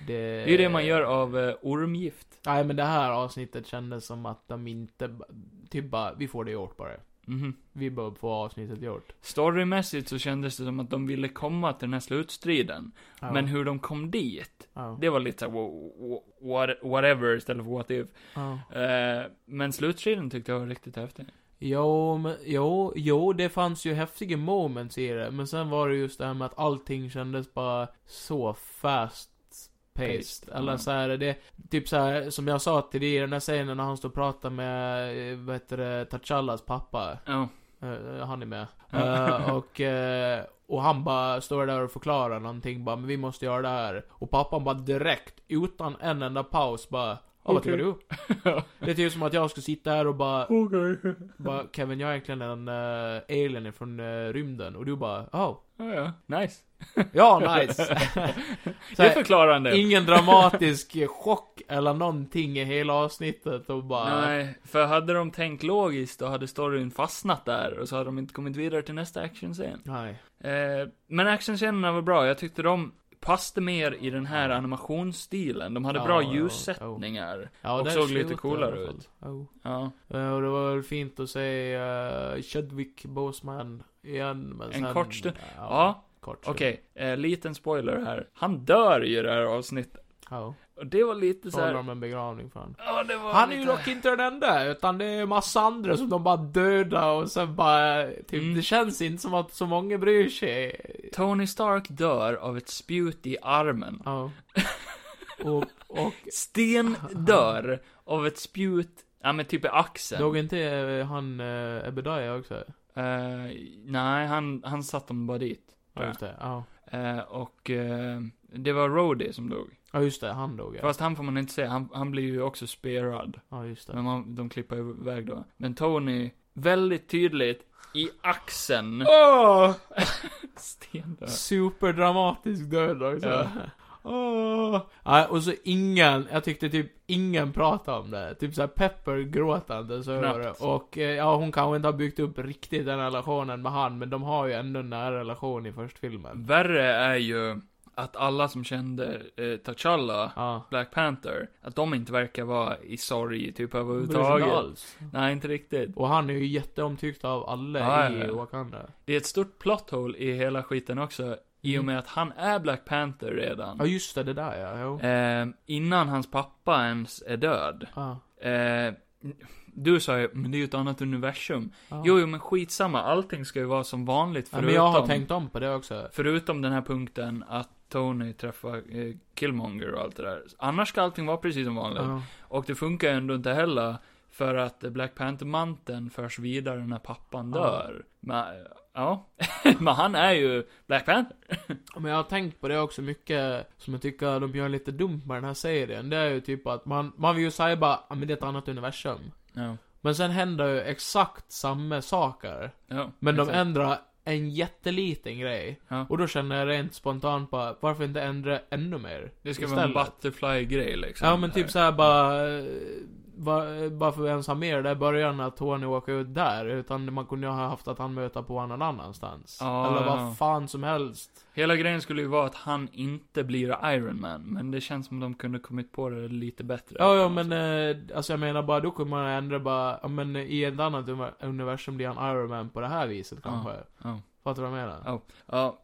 Det Det är ju det man gör av eh, ormgift. Nej men det här avsnittet kändes som att de inte, b- typ bara, vi får det gjort bara. Mhm. Vi bör få avsnittet gjort. Storymässigt så kändes det som att de ville komma till den här slutstriden. Ja. Men hur de kom dit, Ja. det var lite såhär, wo- wo- what, whatever istället för what if. Ja. Eh, men slutstriden tyckte jag var riktigt häftig. Jo, men, jo, jo, det fanns ju häftiga moments i det. Men sen var det just det här med att allting kändes bara så fast Paced, paced. Eller ja. så här, det, typ så här, som jag sa till dig i den här scenen när han står och pratar med, eh, vad heter det, T'Challas pappa. Ja. Eh, han är med. Ja. Eh, och, eh, och han bara står där och förklarar någonting bara, men vi måste göra det här. Och pappan bara direkt, utan en enda paus bara, ja vad tycker du? det är typ som att jag skulle sitta här och bara, Okej. bara Kevin jag är egentligen en uh, alien från eh, rymden. Och du bara, oh, Ja, ja. Nice. ja nice. Så Det här, förklarar en del. ingen dramatisk chock eller någonting i hela avsnittet och bara, Nej, för hade de tänkt logiskt då hade storyn fastnat där och så hade de inte kommit vidare till nästa actionscen. nej. Eh, men actionscenerna var bra, jag tyckte de passade mer i den här animationsstilen. De hade Ja, bra ja, ljussättningar. Ja, Och där såg lite slutar coolare i alla fall. Oh. Ja, Eh, Och det var väl fint att se eh, Chadwick Boseman igen, men En sen... kort stund. Ja, ja kort stund. okej. Eh, liten spoiler här. Han dör ju i det här avsnittet. Ja. Och det var lite så Talar här. om en begravning fan. Ja, det var Han är lite... ju dock inte den enda, utan det är massa andra som de bara dödar och sen bara, typ, Mm. det känns inte som att så många bryr sig. Tony Stark dör av ett spjut i armen. Ja. Och, och, Sten dör av ett spjut, ja men typ i axeln. dog inte eh, han eh, Ebedaya också? Eh, nej, han, han satte dem bara dit. Ja, just det. Ja. Eh, och eh, det var Rhodey som dog. Ja, just det. Han dog ja. Fast han får man inte säga, han, han blir ju också spearad. Ja, just det. Men man, de klipper iväg då. Men Tony, väldigt tydligt, i axeln. Åh! Sten dör. Superdramatisk död också. Ja. Åh! Ja, och så ingen, jag tyckte typ ingen pratade om det. Typ såhär Pepper gråtande så Knappt. var det. Och eh, ja, hon kanske inte har byggt upp riktigt den relationen med han, men de har ju ändå en nära relation i förstfilmen. Värre är ju att alla som kände eh, T'Challa, Ja. Black Panther, att de inte verkar vara i sorg typ Bryr sig inte överhuvudtaget. alls. Nej, inte riktigt. Och han är ju jätteomtyckt av alla Ja, i ja, ja. Wakanda. Det är ett stort plot hole i hela skiten också, i och Mm. med att han är Black Panther redan. Ja, just det, det där ja. Jo. Eh, innan hans pappa ens är död. Ja. Eh, du sa ju, men det är ju ett annat universum. Ja. Jo, jo, men skitsamma, allting ska ju vara som vanligt ja, förutom, men jag har tänkt om på det också. förutom den här punkten att Tony träffar eh, Killmonger och allt det där. Annars ska allting vara precis som vanligt. Ja. Och det funkar ju ändå inte heller, för att eh, Black Panther-manteln förs vidare när pappan Ja. dör. Men, ja. men han är ju Black Panther. Ja, Men jag har tänkt på det också mycket, som jag tycker de gör lite dumt med den här serien. Det är ju typ att man, man vill ju säga bara, ja men det är ett annat universum. Ja. Men sen händer ju exakt samma saker. ja Men de exakt. ändrar en jätteliten grej. Ja. Och då känner jag rent spontant bara, varför inte ändra ännu mer? Det ska vara en istället? butterfly-grej liksom. Ja men typ såhär bara, eh, va- varför ens ha mer där i början att Tony åker ut där? Utan man kunde ju ha haft att han möter på någon annanstans. Ja, Eller ja. vad fan som helst. Hela grejen skulle ju vara att han inte blir Iron Man, men det känns som de kunde kommit på det lite bättre. Ja, ja men eh, alltså jag menar bara, då kommer man ändra bara, ja, men i ett annat univer- universum blir han Iron Man på det här viset kanske. ja. Fattar du vad jag menar? Ja. Ja,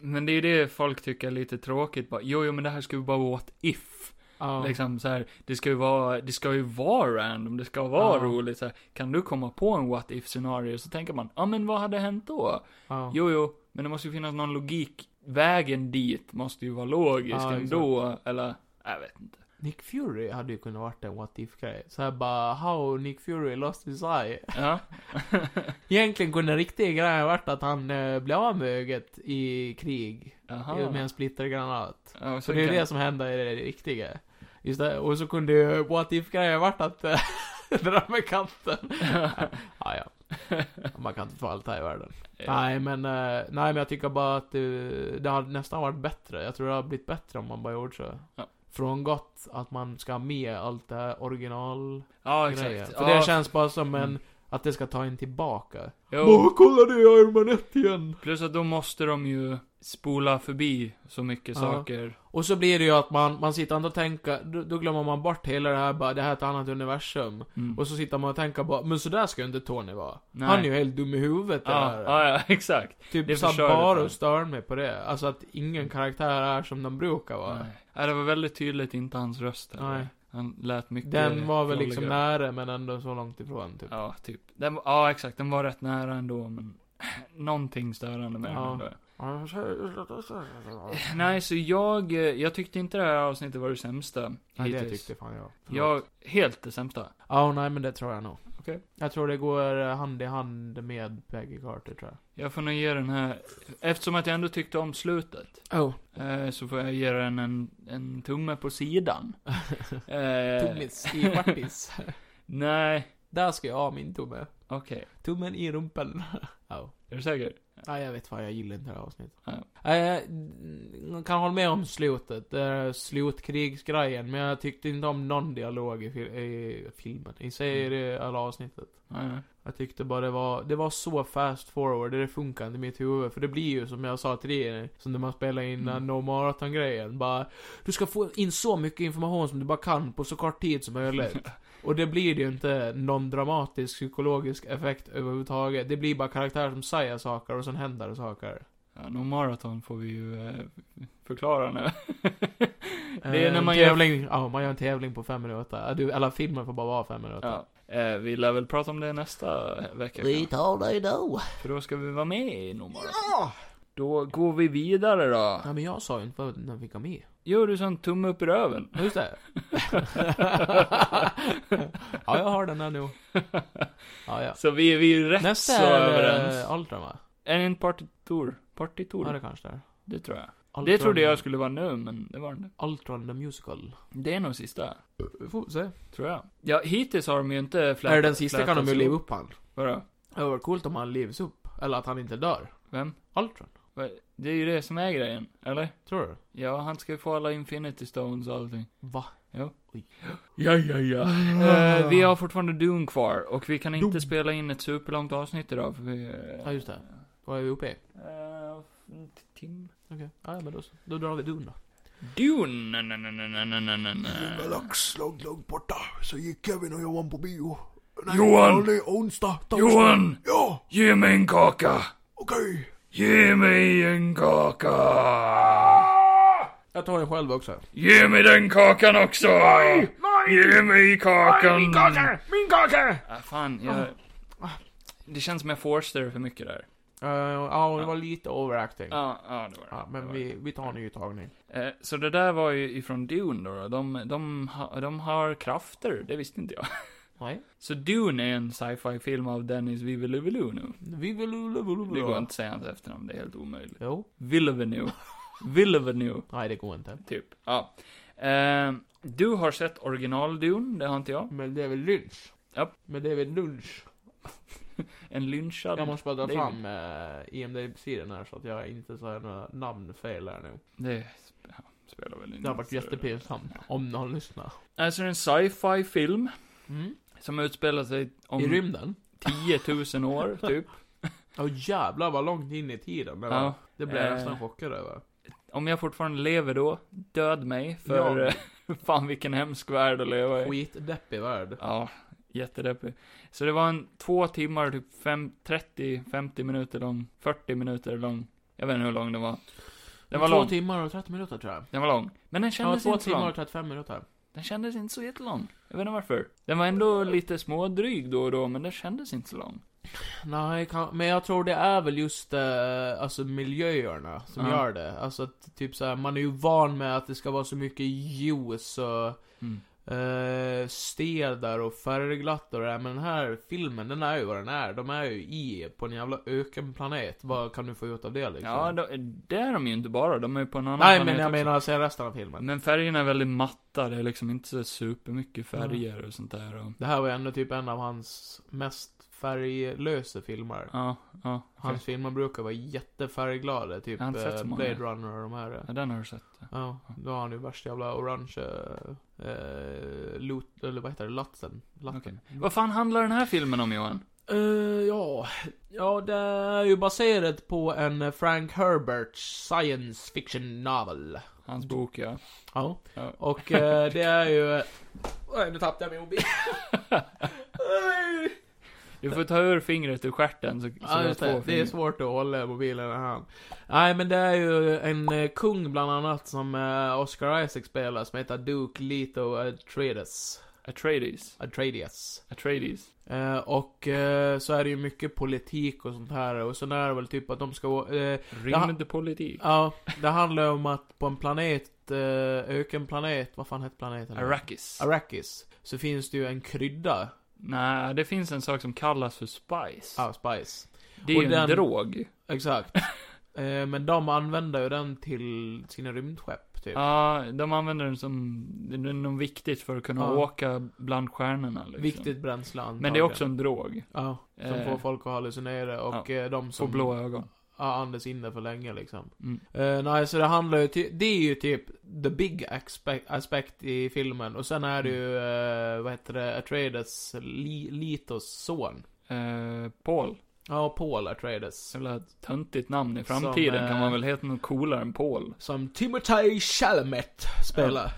men det är ju det folk tycker är lite tråkigt bara. Jo, jo, men det här ska ju bara vara what if. Ja. Liksom så här, det ska ju vara, det ska ju vara random, det ska vara Ja. roligt så här. Kan du komma på en what if scenario så tänker man, ja men vad hade hänt då? ja. Jo, jo, men det måste ju finnas någon logik. Vägen dit måste ju vara logisk Ja, ändå, eller, jag vet inte. Nick Fury hade ju kunnat varit en what if-grej. Såhär bara, how Nick Fury lost his eye. Ja. Egentligen kunde den riktiga grejen varit att han eh, blev av med ögat i krig. Jaha. Med en splittergranat. Ja, Så Ah. så det är ju kan- det som händer i det riktiga. Just det, och så kunde ju what if-grejen varit att eh, dra med katten. ja, ja. Man kan inte få allt här i världen. Nej men, eh, nej men jag tycker bara att det, det hade nästan varit bättre. Jag tror det hade blivit bättre om man bara gjort så. Ja. Frångått att man ska ha med allt det här original Ja, grejer. exakt. För ja, det känns bara som en, Mm. att det ska ta en tillbaka. jo. Åh, kolla det är Iron Man 1 igen! Plus att då måste de ju spola förbi så mycket Ja. saker. Och så blir det ju att man, man sitter inte och tänker, då, då glömmer man bort hela det här bara, det här är ett annat universum. Mm. Och så sitter man och tänker bara, men sådär ska ju inte Tony vara. Nej. Han är ju helt dum i huvudet det ja, där. ja, ja, exakt. Det Typ så förstör här det bara fan. och stör mig på det. Alltså att ingen karaktär är som de brukar vara. Nej. Ja, det var väldigt tydligt inte hans röst heller. Nej. Han lät mycket Den var väl liksom knolligare. nära men ändå så långt ifrån typ. Ja, typ. Den, var- ja, exakt. Den var rätt nära ändå, men någonting störande med Ja. den ändå. Nej, så jag, eh, jag tyckte inte det här avsnittet var det sämsta Ja, det hittills. tyckte fan jag. Förlåt. jag, helt det sämsta. Ja, nej men det tror jag nog. Okej. Jag tror det går eh, hand i hand med Peggy Carter tror Jag får nog ge den här, eftersom att jag ändå tyckte om slutet. jag. Oh. Eh, så får jag ge den en, en tumme på sidan. Eh, Tummis i vartis. Nej, Där ska jag ha min tumme. okej. Tummen i rumpen. Ja. Är du säker? Nej, jag vet fan, jag gillar inte det här avsnittet. Ja. Eh, Jag kan hålla med om slutet, eh, slutkrigsgrejen, men jag tyckte inte om någon dialog i, fil- i filmen, i serien, eller avsnittet. Nej, nej. Jag tyckte bara det var, det var så fast forward, det funkar inte i mitt huvud. För det blir ju som jag sa till dig, som när man spelar in Mm. mm. No Marathon-grejen. Bara, du ska få in så mycket information som du bara kan på så kort tid som möjligt. Och det blir ju inte någon dramatisk psykologisk effekt överhuvudtaget. Det blir bara karaktärer som säger saker och sen händer det saker. Ja, no maraton får vi ju eh, förklara nu. Det är när man Eh, tävling, gör... Ja, man gör en tävling på fem minuter. Ja, Du, alla filmer får bara vara fem minuter. ja. Eh, vi lär väl prata om det nästa vecka. Vi kanske. tar dig då. För då ska vi vara med i no maraton. Då går vi vidare då. Ja, men jag sa ju inte vad när vi kom med. Gör du sån tumme upp i röven? Ja, Just det. ja, jag har den här nu. Ja, ja. Så vi, vi är ju rätt Nästa så är överens. eh, Ultron va? Är det en partitur? Partitur? Ja, det det... kanske det är. tror jag. Ultron, Det trodde jag skulle vara nu, men det var det inte. Ultron the Musical. Det är nog sista, Vi får se. tror jag. Ja, hittills har de ju inte flätat... är det den sista kan de ju flätats leva upp han. Vadå? Det vore coolt om han levs upp. Eller att han inte dör. Vem? Ultron. Va- Det är ju det som är grejen, eller? Tror du? Ja, han ska ju få alla Infinity Stones och allting. Va? Ja, ja, ja. Eh, vi har fortfarande Dune kvar och vi kan inte Dune. spela in ett superlångt avsnitt idag för vi... eh, Ja, just det. Vad är vi uppe i? eh, en tim- Okej. Ja, ja, men då, så. då drar vi Dune då. Dune! na, na, na, na, na, na, na, na. Lax långt, långt borta så gick Kevin och Johan på bio. Johan! Det onsdag, torsdag. Johan! Ja, Ge mig en kaka! okej. Ge mig en kaka! Jag tar den själv också. Ge mig den kakan också! Nej! Ge mig kakan! Ehm, min kaka! Min kaka! Ah, fan, jag... Det känns som jag forcade det för mycket där. eh, ja, det var lite overacting. Ja, ja, det var det. Ja, Det men var vi, vi tar en ny tagning. det. Eh, Så det där var ju ifrån Dune då. då. De, de, ha- de har krafter, det visste inte jag. Nej. Så Dune är en sci-fi film av Dennis Villeneuve nu. Vi vill... vill- vill- vill- Det går inte att säga hans efternamn, det är helt omöjligt. Jo. Villeneuve. Villeneuve, Nej, det går inte. typ. Ja. Eh, du har sett original Dune, det har inte jag. Men det är väl lunch? Japp. Men det är väl lunch? En lynchad... Jag måste bara dra det är- fram eh, IMDB-sidan här så att jag inte säger några namn fel här nu. Det sp- ja, spelar väl ingen Det har varit större- jättepinsamt. Om någon lyssnar. Alltså, det är en sci-fi film Mm. som utspelar sig I om rymden? 10 000 år, typ. Ja jävlar vad långt in i tiden det var. Ja. Det blev jag Eh. nästan chockad över. Om jag fortfarande lever då, död mig, för Ja. eh, fan vilken hemsk värld att leva i. Skitdeppig värld. Ja, jättedeppig. Så det var en två timmar, typ fem- 30-50 minuter lång, 40 minuter lång. Jag vet inte hur lång den var. Den var två lång. timmar och 30 minuter tror jag. Den var lång. Men den Ja, kändes två inte så timmar lång. och 35 minuter. Den kändes inte så jättelång. Jag vet inte varför. Den var ändå lite smådryg då och då, men den kändes inte så lång. Nej, kan, men jag tror det är väl just eh, alltså miljöerna som Ja. gör det. Alltså att, typ så här, man är ju van med att det ska vara så mycket ljus och Mm. eh, städer och färgglatt och det där. Men den här filmen, den är ju vad den är. De är ju i, på en jävla ökenplanet. Vad kan du få ut av det liksom? Ja, då, det är de ju inte bara. De är ju på en annan Nej, planet men jag också. menar sen resten av filmen. Men färgerna är väldigt matta. Det är liksom inte så supermycket färger och sånt där. Och, Det här var ju ändå typ en av hans mest färglösa filmer. ja, ja. Hans filmer brukar vara jättefärgglada, typ Jag har inte sett eh, så många. Blade Runner och de här. eh. ja, den har du sett. Ja, då har han ju värsta jävla orange... eh, Eh, lot, eller vad heter det? Latten. Latten. Okej. Vad fan handlar den här filmen om, Johan? Eh, ja. ja, det är ju baserat på en Frank Herberts science fiction novel. Hans bok, ja. Ja. Ja. Och eh, det är ju... Oj, nu tappade jag min mobil. Oj. Du får ta ur fingret ur stjärten så, så Ja, du har just två det. det är fingrar. svårt att hålla mobilen i hand. Nej, men det är ju en eh, kung bland annat som eh, Oscar Isaac spelar som heter Duke Leto Atreides. Atreides. Atreides. Atreides. Eh, och eh, så är det ju mycket politik och sånt här och sen är det väl typ att de ska... Eh, Rymdpolitik. ja, det handlar om att på en planet, eh, ökenplanet, vad fan hette planeten? Arrakis. Arrakis. Så finns det ju en krydda, Nej, det finns en sak som kallas för spice. ah, spice. det är och ju en den- drog. Exakt. eh, men de använder ju den till sina rymdskepp, typ. Ja, de använder den som, det är något viktigt för att kunna Ja. åka bland stjärnorna liksom. Viktigt bränsle antagligen. Men det är också en drog. Ja, som Eh, får folk att hallucinera och eh, de Får som... blå ögon. Ja, andas in det för länge liksom. Mm. Eh, nej, så det handlar ju ty- Det är ju typ the big aspect, aspect i filmen. Och sen är det ju, eh, vad heter det, Atreides, Li- Litos son. Eh, Paul. Ja, Paul Atreides. Jävla töntigt namn. I framtiden Som, eh, kan man väl heta något coolare än Paul. Som Timothy Chalamet spelar.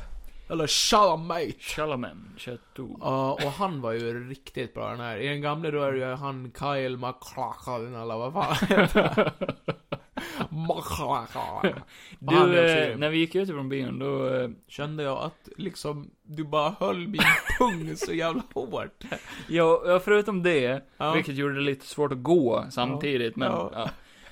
Eller Chalamet. Chalamen, Chateau. Ja, och han var ju riktigt bra den här. I den gamla då är det ju han Kyle MacLachlan eller vad fan heter han? Och han Du, blev sur. eh, när vi gick ut från bion då, eh, Kände jag att liksom, du bara höll min pung så jävla hårt. ja, ja, förutom det, Ja. vilket gjorde det lite svårt att gå samtidigt, men Ja. ja.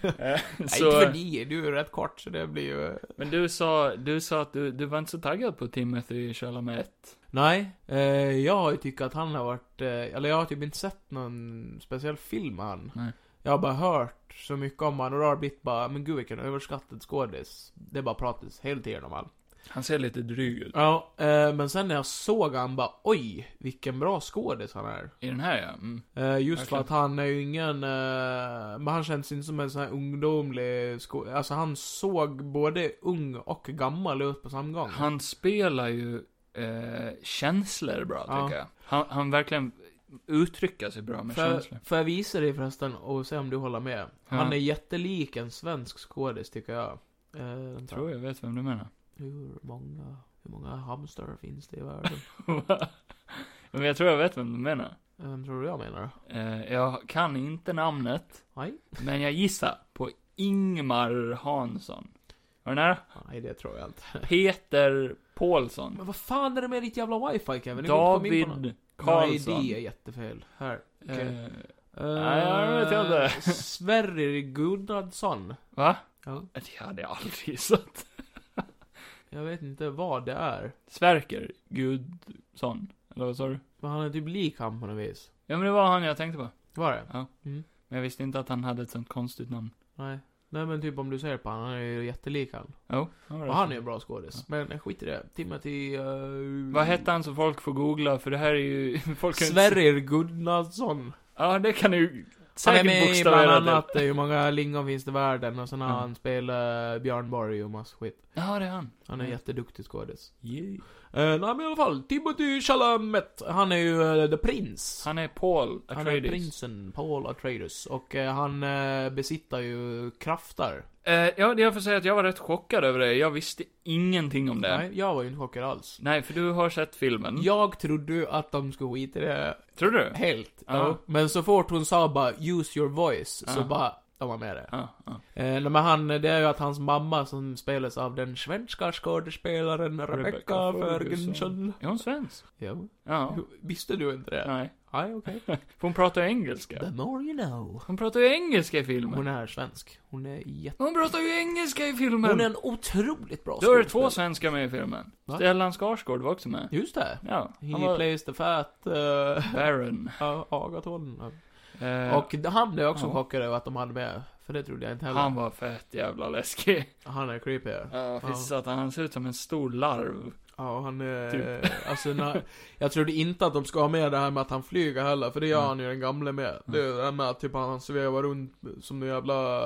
Eh, Nej, inte för Så, dig, du är rätt kort så det blir ju... men du sa, du sa att du, du var inte så taggad på Timothy Chalamet. Nej, eh, jag har ju tyckt att han har varit, eh, eller jag har typ inte sett någon speciell film med han. Nej. Jag har bara hört så mycket om han och då har det blivit bara, men gud vilken överskattad skådis. Det bara pratas hela tiden om han. Han ser lite dryg ut. Ja, eh, men sen när jag såg han bara, oj, vilken bra skådis han är. I den här ja. Mm. Eh, just Verkligen. för att han är ju ingen, eh, men han känns inte som en sån här ungdomlig skå- Alltså han såg både ung och gammal ut på samma gång. Han spelar ju eh, känslor bra tycker Ja. jag. Han, han verkligen uttrycker sig bra med Får känslor. får jag visa dig förresten och se om du håller med? Han är jättelik en svensk skådis tycker jag. Eh, vänta. Tror jag vet vem du menar. Hur många, hur många hamstrar finns det i världen? Men jag tror jag vet vem du menar. Vem tror du jag menar? Eh, jag kan inte namnet, Nej? men jag gissar på Ingmar Hansson. Var det nära? Nej, det tror jag inte. Peter Paulsson. Men vad fan är det med ditt jävla wifi Kevin? Det går inte att komma in på något. David Nej, det är Karlsson. jättefel. Här. okej. Eh, Uh, Nej, jag vet inte. Sverrir Gunnarsson. va? Ja. Det hade jag aldrig gissat. Jag vet inte vad det är. Sverker Gudson. Eller vad sa du? Men han är typ lik han på något vis. Ja men det var han jag tänkte på. Var det? Ja. Mm. Men jag visste inte att han hade ett sånt konstigt namn. Nej. Nej men typ om du ser på han, han är ju jättelik han. Jo, han var Och det. han är en bra skådis. Men skit i det. Timothy... Uh, Vad hette han så folk får googla? För det här är ju... Folk kan ju inte- Sverrir Gunnarsson. Ja, det kan du ju Han är säkert med i bland bokstavera till. annat eh, Hur många lingon finns det i världen? Och sen har Ja. han spelat eh, Björn Borg och massa skit. Ja, det är han. Han är Mm. en jätteduktig skådis. Yeah. Uh, nej men i alla fall, Timothy Chalamet. Han är ju eh, The Prince. Han är Paul Han är Atreides. prinsen Paul Atreides och eh, han eh, besitter ju krafter. Eh, ja, det jag får säga att jag var rätt chockad över det. Jag visste ingenting om det. Mm. Nej, Nej, jag var ju inte chockad alls. för du har sett filmen. Jag trodde ju att de skulle skita i det Tror du? helt. Ja. Ja. Men så fort hon sa bara 'use your voice' så Ja. bara, de var med det. Ja, ja. Eh, men han, det är ju att hans mamma som spelas av den svenska skådespelaren Rebecca Rebecca Ferguson. Ferguson. Är hon svensk? Ja. Ja. Visste du inte det? Nej. Nej, okej. För hon pratar ju engelska. The more you know. Hon pratar ju engelska i filmen. Hon Hon, är svensk. Hon är jätte... pratar ju engelska i filmen! Hon är en otroligt bra Då är det skådespelare. två svenskar med i filmen. Va? Stellan Skarsgård var också med. Just det. Ja, He han var plays the fat uh, Baron. Agaton. Eh, Och han blev också Ja. chockad över att de hade med. För det trodde jag inte heller. han Han, var fett jävla läskig. är creepy. Ja, Ja, fy satan. Han ser ut som en stor larv. och han är... Typ. Alltså, när, jag trodde inte att de ska ha med det här med att han flyger heller. För det gör Mm. han ju den gamle med. Det är det här med att typ han svävar runt som en jävla...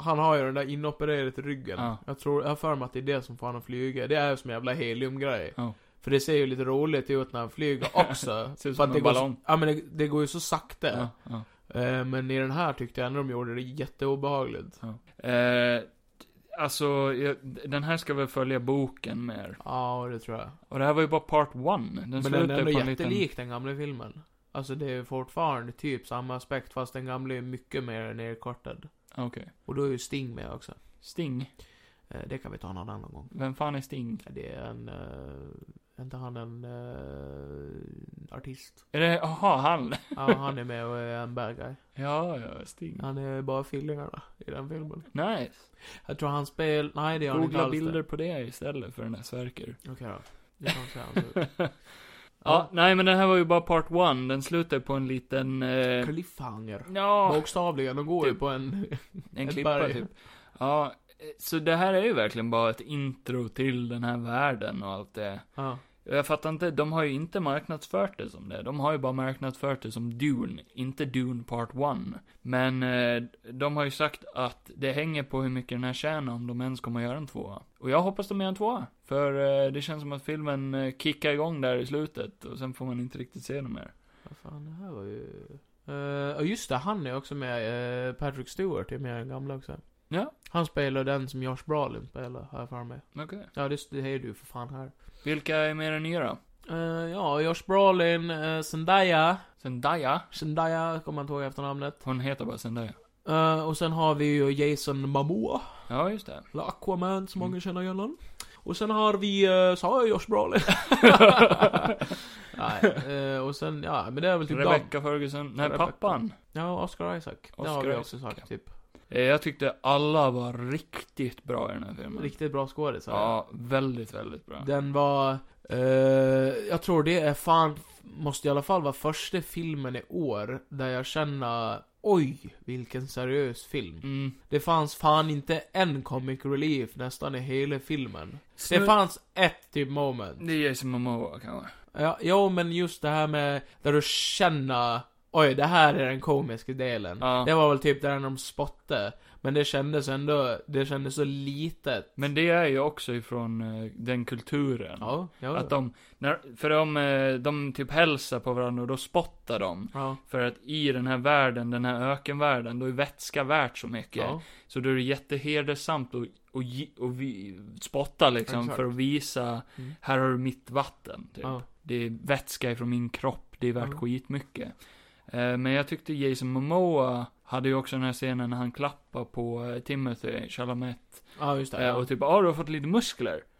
Han har ju den där inopererade ryggen. Ja. Jag tror, jag har för mig att det är det som får honom att flyga. Det är ju som en jävla heliumgrej. Ja. För det ser ju lite roligt ut när han flyger också. Ser ut För som att det en går så- ballong. Ja men det, det går ju så sakta. Ja, ja. Eh, Men i den här tyckte jag ändå de gjorde det jätteobehagligt. Eh, alltså, jag- den här ska väl följa boken mer. Ja, det tror jag. Och det här var ju bara part one. Den men den är slutar ändå ju på en liten... jättelik den gamla filmen. Alltså det är ju fortfarande typ samma aspekt fast den gamla är mycket mer nerkortad. Okej. Och då är ju Sting med också. Sting. Eh, Det kan vi ta någon annan gång. Vem fan är Sting? Ja, Det är en... Äh, inte han en... eh, artist? Är det, aha, han. Ja, han är med och är en bad guy. Ja, ja, Sting. Han är bara fillingarna i den filmen. Nice. Jag tror han spel... Nej, det gör han inte Googla alls det. bilder på det istället för den där Sverker. Okej då. Det kan säga. Alltså. ja. nej men den här var ju bara part one. Den slutar på en liten... Eh, Cliffhanger. ja, Bokstavligen, de går ju Typ. på en... en ett klippa berg. typ. Ja, eh, så det här är ju verkligen bara ett intro till den här världen och allt det. Ja. Jag fattar inte, de har ju inte marknadsfört det som det. De har ju bara marknadsfört det som Dune, inte Dune Part 1. Men eh, de har ju sagt att det hänger på hur mycket den här tjänar om de ens kommer att göra en tvåa. Och jag hoppas de gör en tvåa. För eh, det känns som att filmen eh, kickar igång där i slutet och sen får man inte riktigt se den mer. Vad fan, det här var ju... Eh, Och just det, han är också med. eh, Patrick Stewart är med i den gamla också. Ja. Han spelar den som Josh Brolin spelar, har jag för mig. Okej. Ja, det, det är du för fan här. Vilka är med i den nya då? Eh, ja, Josh Brolin, eh, Zendaya. Zendaya? Zendaya kommer man inte ihåg efternamnet. Hon heter bara Zendaya. Ja, Eh, och sen har vi ju Jason Momoa, Ja, just det. eller Aquaman som Mm. många känner igen honom. Och sen har vi, eh, sa jag Josh Brolin? Nej, eh, och sen, ja men det är väl typ dem. Rebecca Ferguson. Nej, Rebecca. pappan. Ja, Oscar Isaac. det har Oscar vi också Isaac, sagt, ja. typ. Eh, Jag tyckte alla var riktigt bra i den här filmen. Riktigt bra skådisar. Ja, väldigt, väldigt bra. Den var... eh, jag tror det är fan... Måste i alla fall vara första filmen i år där jag känner Oj, vilken seriös film. Mm. Det fanns fan inte en comic relief nästan i hela filmen. Snu- Det Mm. fanns ett typ moment. Det är Jason Momoa kanske. Ja, jo, men just det här med där du känner Oj, det här är den komiska delen. Ja. Det var väl typ där när de spottade. Men det kändes ändå, det kändes så litet. Men det är ju också ifrån eh, den kulturen. Ja, ja. Att de, när, för de, eh, de typ hälsar på varandra och då spottar de. ja, För att i den här världen, den här ökenvärlden, då är vätska värt så mycket. ja. Så då är det jättehedersamt att och, ge- och vi, spotta liksom Exakt. för att visa, Mm. här har du mitt vatten. Typ. ja. Det är vätska ifrån min kropp, det är värt Ja. skitmycket. Eh, men jag tyckte Jason Momoa hade ju också den här scenen när han klappar på eh, Timothy Chalamet. Ja, just det. Eh, Ja. och typ, ja ah, du har fått lite muskler.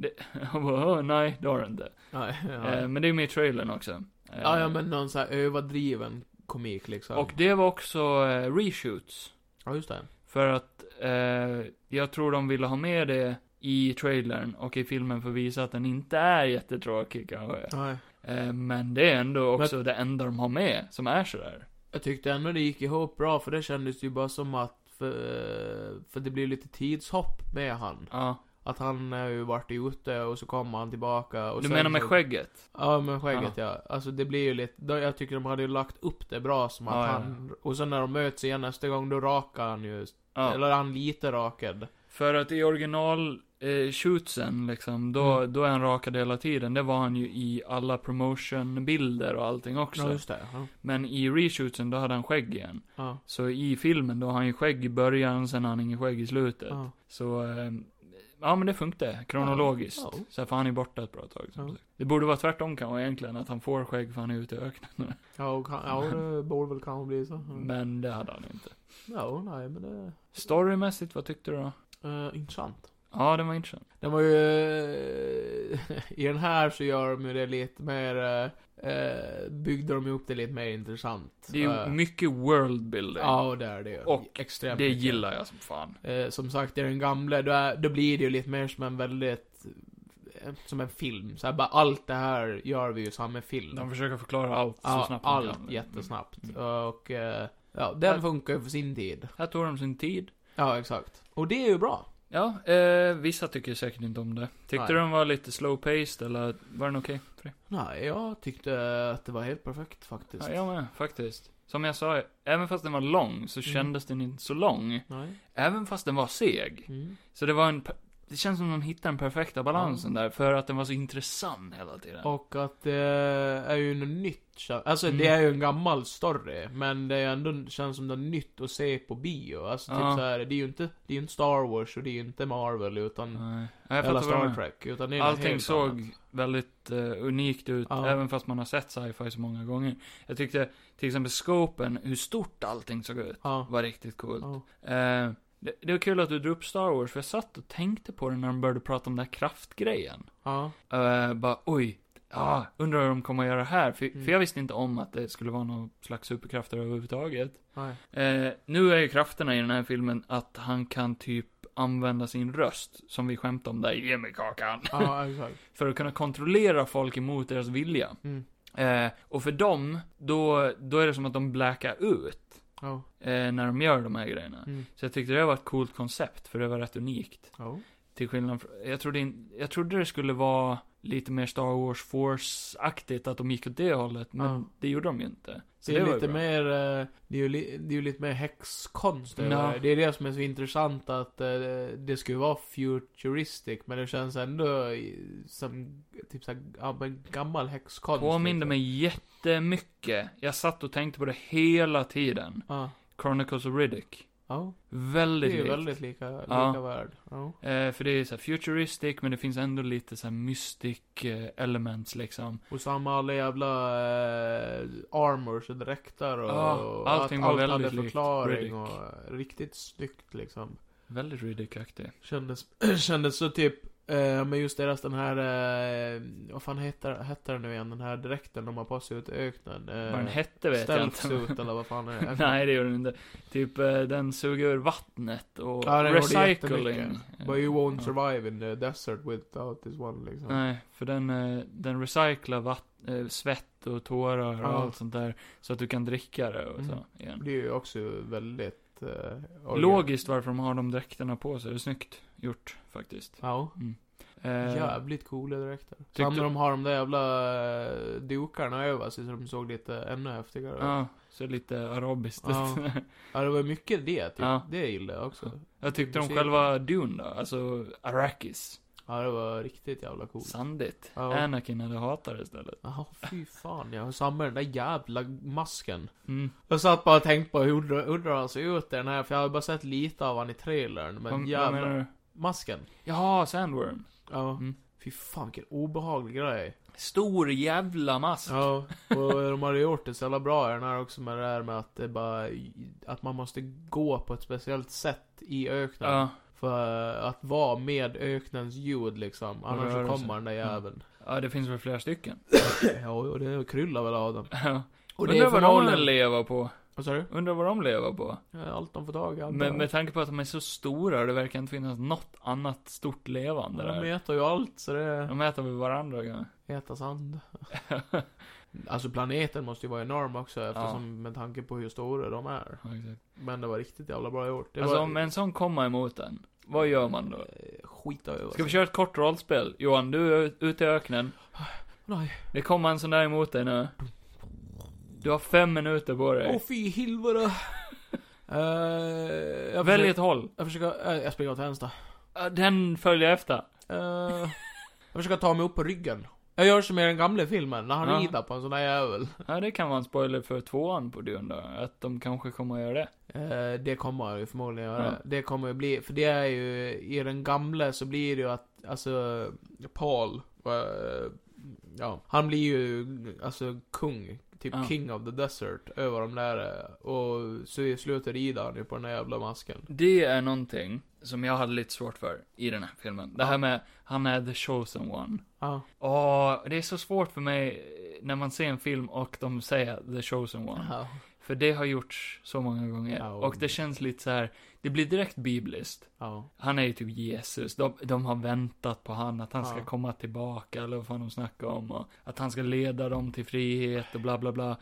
Mm. Han bara, "Åh, nej det har du inte. Ja, ja. Eh, men det är ju med i trailern också. Eh, ja, ja, men någon så här överdriven komik liksom. Och det var också eh, reshoots. Ja, just det. För att eh, jag tror de ville ha med det i trailern och i filmen för att visa att den inte är jättetråkig kanske. Ja. Eh, men det är ändå också det enda de har med som är sådär. Jag tyckte ändå det gick ihop bra, för det kändes ju bara som att för, eh, för det blir lite tidshopp med han. Ja. Att han har ju varit ute och så kommer han tillbaka och Du sen menar med så- skägget? Ja, med skägget ja. Alltså det blir ju lite, då, jag tycker de hade ju lagt upp det bra som att Ja, ja. han, och sen när de möts igen nästa gång då rakar han ju, Ja. eller han lite rakad. För att i original eh, shootsen liksom, då, Mm. då är han rakad hela tiden. Det var han ju i alla promotionbilder och allting också. Ja, just det. Ja. Men i reshootsen, då hade han skägg igen. Ja. Så i filmen, då har han ju skägg i början, sen har han inget skägg i slutet. Ja. Så, eh, ja men det funkar kronologiskt. Ja. Ja. Så här, för han är borta ett bra tag. Som Ja. sagt. Det borde vara tvärtom kanske egentligen, att han får skägg för han är ute i öknen. Ja, och kan, ja det borde väl kanske bli så. Mm. Men det hade han inte. Ja, nej men det... Storymässigt, vad tyckte du då? Eh, Uh, intressant. Ja, den var intressant. Den var ju... eh, I den här så gör de ju det lite mer... eh, eh, byggde de upp det lite mer intressant. Det är ju Eh, mycket worldbuilding. Ja, det är det ju. Och extremt Det mycket. gillar jag som fan. Eh, som sagt, i den gamla, då, är, då blir det ju lite mer som en väldigt... eh, Som en film. Så här, bara allt det här gör vi ju i samma film. De försöker förklara allt så Ja, snabbt de allt kan. jättesnabbt. Mm. Och... eh, ja, den Ja. funkar ju för sin tid. Här tog de sin tid. Ja, exakt. Och det är ju bra. Ja, eh, vissa tycker säkert inte om det. Tyckte Nej. du den var lite slow-paced eller var den okej för dig? Nej, jag tyckte att det var helt perfekt faktiskt. Ja, jag med, faktiskt. Som jag sa, även fast den var lång så Mm. kändes den inte så lång. Nej. Även fast den var seg. Mm. Så det var en... per- Det känns som de hittade den perfekta balansen där, för att den var så intressant hela tiden. Och att det är ju något nytt. kä- Alltså Mm. det är ju en gammal story, men det är ändå känns som något nytt att se på bio. Alltså typ Ja. så här, det är ju inte, det är ju inte Star Wars och det är ju inte Marvel utan, Nej. Ja, jag fattar eller vad du Star menar. Trek. Utan det är något Allting helt såg annat. väldigt eh, unikt ut, Ja. även fast man har sett sci-fi så många gånger. Jag tyckte till exempel scopen, hur stort allting såg ut, Ja. var riktigt coolt. ja. Eh, det, det var kul att du drog upp Star Wars, för jag satt och tänkte på det när de började prata om den här kraftgrejen. ja. Eh, bara, oj, ah, undrar hur de kommer att göra här, för, Mm. för jag visste inte om att det skulle vara någon slags superkrafter överhuvudtaget. Nej. Eh, nu är ju krafterna i den här filmen att han kan typ använda sin röst, som vi skämtade om där, ge mig kakan. Ja, exakt. för att kunna kontrollera folk emot deras vilja. Mm. Eh, och för dem, då, då är det som att de blackar ut Ja. eh, när de gör de här grejerna. Mm. Så jag tyckte det var ett coolt koncept, för det var rätt unikt. Ja. Till skillnad från, jag trodde, in, jag trodde det skulle vara lite mer Star Wars Force-aktigt, att de gick åt det hållet, men Ja. det gjorde de ju inte. Så Det är var ju ju lite bra. mer, eh, det är ju, li, det är ju lite mer häxkonst över Ja. det. Det är det som är så intressant att eh, det skulle vara futuristic men det känns ändå i- som typ såhär, ja men gammal häxkonst. Påminde liksom. mig jättemycket. Jag satt och tänkte på det hela tiden. Ja. Chronicles of Riddick. Ja. Det Väldigt är ju likt. väldigt lika, lika Ja. värld. Ja. Eh, för det är så här futuristic, men det finns ändå lite så här mystic eh, elements liksom. Och samma alla jävla eh, armors och dräkter och, Ja, och allting att var allt väldigt hade likt förklaring Riddick. och eh, riktigt snyggt liksom. Väldigt Riddick-aktig. Kändes, kändes så typ, eh, men just deras den här, eh, vad fan heter, heter den nu igen, den här dräkten de har på sig ute i öknen. Eh, Vad den hette vet jag stealth inte. suit eller vad fan är det? Nej, det gör den inte. Typ, eh, den suger ur vattnet och Ja, den gjorde recycling. jättemycket. But you won't Ja. survive in the desert without this one liksom. Nej, för den, eh, den recyclar vatt, eh, svett och tårar och Ja. allt sånt där. Så att du kan dricka det och Mm. så igen. Det är ju också väldigt... Eh, orga- Logiskt varför de har de dräkterna på sig. Det är snyggt gjort faktiskt. Ja. Eh, Jävligt coola dräkter. Tyckte- Sen när de har de där jävla eh, dukarna över sig så de såg lite ännu häftigare ut. Ja, så lite arabiskt. Ja. Ja, det var mycket det typ. Ja. Det gillade jag också. Jag tyckte om Musiken. själva Dune då, alltså Arrakis. Ja, det var riktigt jävla coolt. Sandigt. Oh. Ja. Anakin hade hatat det istället. Jaha, fy fan. Jag har samma den där jävla masken. Mm. Jag satt bara och tänkte på hur undrar- undrar han ser ut i den här, för jag har bara sett lite av han i trailern. Men Vad- vad menar jävla... du? Masken. Jaha, Sandworm. Ja. Mm. Fy fan vilken obehaglig grej. Stor jävla mask. Ja, och de hade gjort det så jävla bra i den här också med det här med att det bara, att man måste gå på ett speciellt sätt i öknen. Ja. För att vara med öknens ljud liksom, Och annars rörelse. så Mm. kommer den där jäveln. ja, det finns väl flera stycken. Ja, och det kryllar väl av dem. Ja. Och det är Undrar vad de förmodligen... lever på. Vad sa du? Undrar vad de lever på. Ja, Allt de får tag i. allt Med, de- med tanke på att de är så stora, det verkar inte finnas något annat stort levande de där. äter ju allt, så det... De äter väl varandra kanske. Äta sand. Alltså planeten måste ju vara enorm också eftersom, med tanke på hur stora de är. Ja, exakt. Men det var riktigt jävla bra gjort. Det Alltså var... om en sån kommer emot en, vad gör man då? Eh, Skita över Ska vi sig. köra ett kort rollspel? Johan, du är ute i öknen. Nej. Det kommer en sån där emot dig nu. Du har fem minuter på dig. Åh fy helvete. Eh, Välj jag försöker- ett håll. Jag försöker, eh, jag springer åt vänster. Ja, Den följer efter. Eh, jag försöker ta mig upp på ryggen. Jag gör som i den gamla filmen, när han Ja. rider på en sån där jävel. Ja, det kan vara en spoiler för tvåan på Dune då. Att de kanske kommer att göra det. Eh, det kommer jag ju förmodligen göra. Ja. Det kommer ju bli, för det är ju, i den gamla så blir det ju att, alltså, Paul, eh, ja, han blir ju, alltså, kung. Typ Ja. king of the desert, över de där. eh, Och så i slutet rider han ju på den där jävla masken. Det är någonting som jag hade lite svårt för i den här filmen. Det här med, han är the chosen one. Ja. Åh, det är så svårt för mig när man ser en film och de säger the chosen one. Ja. För det har gjorts så många gånger. Ja, och- Och det känns lite så här. det blir direkt bibliskt. Ja. Han är ju typ Jesus. De, de har väntat på han, att han ska Ja. komma tillbaka, eller vad fan de snackar om. Och att han ska leda dem till frihet och bla bla bla.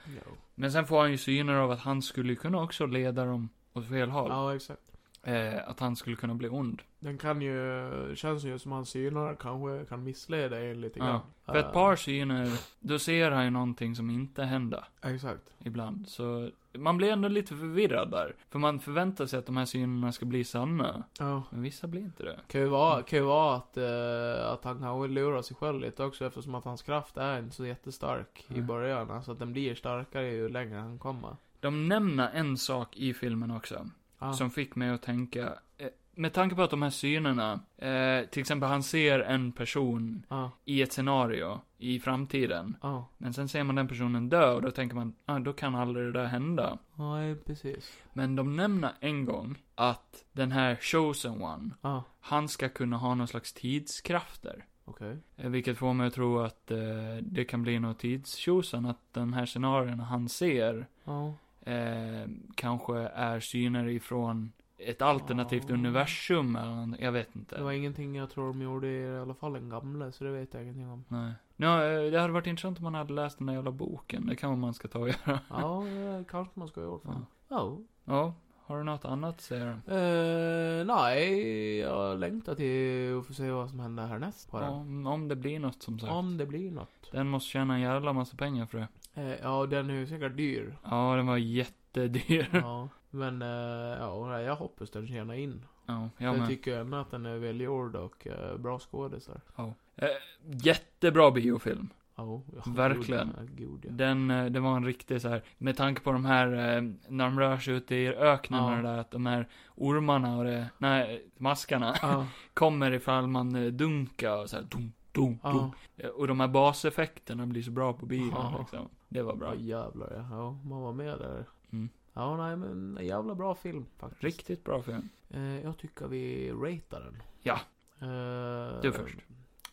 Men sen får han ju syner av att han skulle ju kunna också leda dem åt fel håll. Ja, exakt. Eh, att han skulle kunna bli ond. Den kan ju, känns ju som han synar kanske kan missleda en lite Ja. grann. För Eh, ett par syner, då ser han ju någonting som inte händer. Eh, Exakt. ibland. Så man blir ändå lite förvirrad där. För man förväntar sig att de här synerna ska bli sanna. Ja. Men vissa blir inte det. Kan ju vara, kan ju vara att, eh, att han kanske lurar sig själv lite också eftersom att hans kraft är inte så jättestark i Nej. början. Alltså att den blir starkare ju längre han kommer. De nämner en sak i filmen också. Ja. Som fick mig att tänka. eh, Med tanke på att de här synerna, eh, till exempel han ser en person Ja. i ett scenario i framtiden. Ja. Men sen ser man den personen dö och då tänker man, ah, då kan aldrig det där hända. Nej, precis. Men de nämner en gång att den här chosen one, Ja. han ska kunna ha någon slags tidskrafter. Okej. Eh, Vilket får mig att tro att eh, det kan bli något tidstjosan, att den här scenarien han ser Ja. eh, kanske är syner ifrån ett alternativt Ja. universum eller nånt- jag vet inte. Det var ingenting jag tror de gjorde i alla fall den gamla, så det vet jag ingenting om. Nej. Nå, eh, det hade varit intressant om man hade läst den där jävla boken, det kan man ska ta och göra. Ja, det kanske man ska ha gjort. Ja. fan. Ja. Ja, har du något annat säger de? Eh, nej, jag längtar till att få se vad som händer härnäst på den. Om, om det blir något som sagt. Om det blir något. Den måste tjäna en jävla massa pengar för det. Eh, ja, den är ju säkert dyr. Ja, den var jättedyr. Ja, Ja, men eh, ja, jag hoppas den tjänar in. jag jag med. tycker ändå att den är välgjord och eh, bra skådisar. Ja. Eh, jättebra biofilm. Ja, ja, Verkligen. gud, ja, Gud, ja. Den, eh, det var en riktig så här, med tanke på de här, eh, när de rör sig ute i öknen Ja. och det där, att de här ormarna och det, nej, maskarna, Ja, kommer ifall man eh, dunkar och så här, dunk, dunk, ja. dunk. Eh, Och de här baseffekterna blir så bra på bilen Ja. liksom. Det var bra. Ja, jävlar ja. ja. Man var med där. Mm. Ja, nej men en jävla bra film faktiskt. Riktigt bra film. Eh, jag tycker vi ratear den. Ja. Eh, Du först.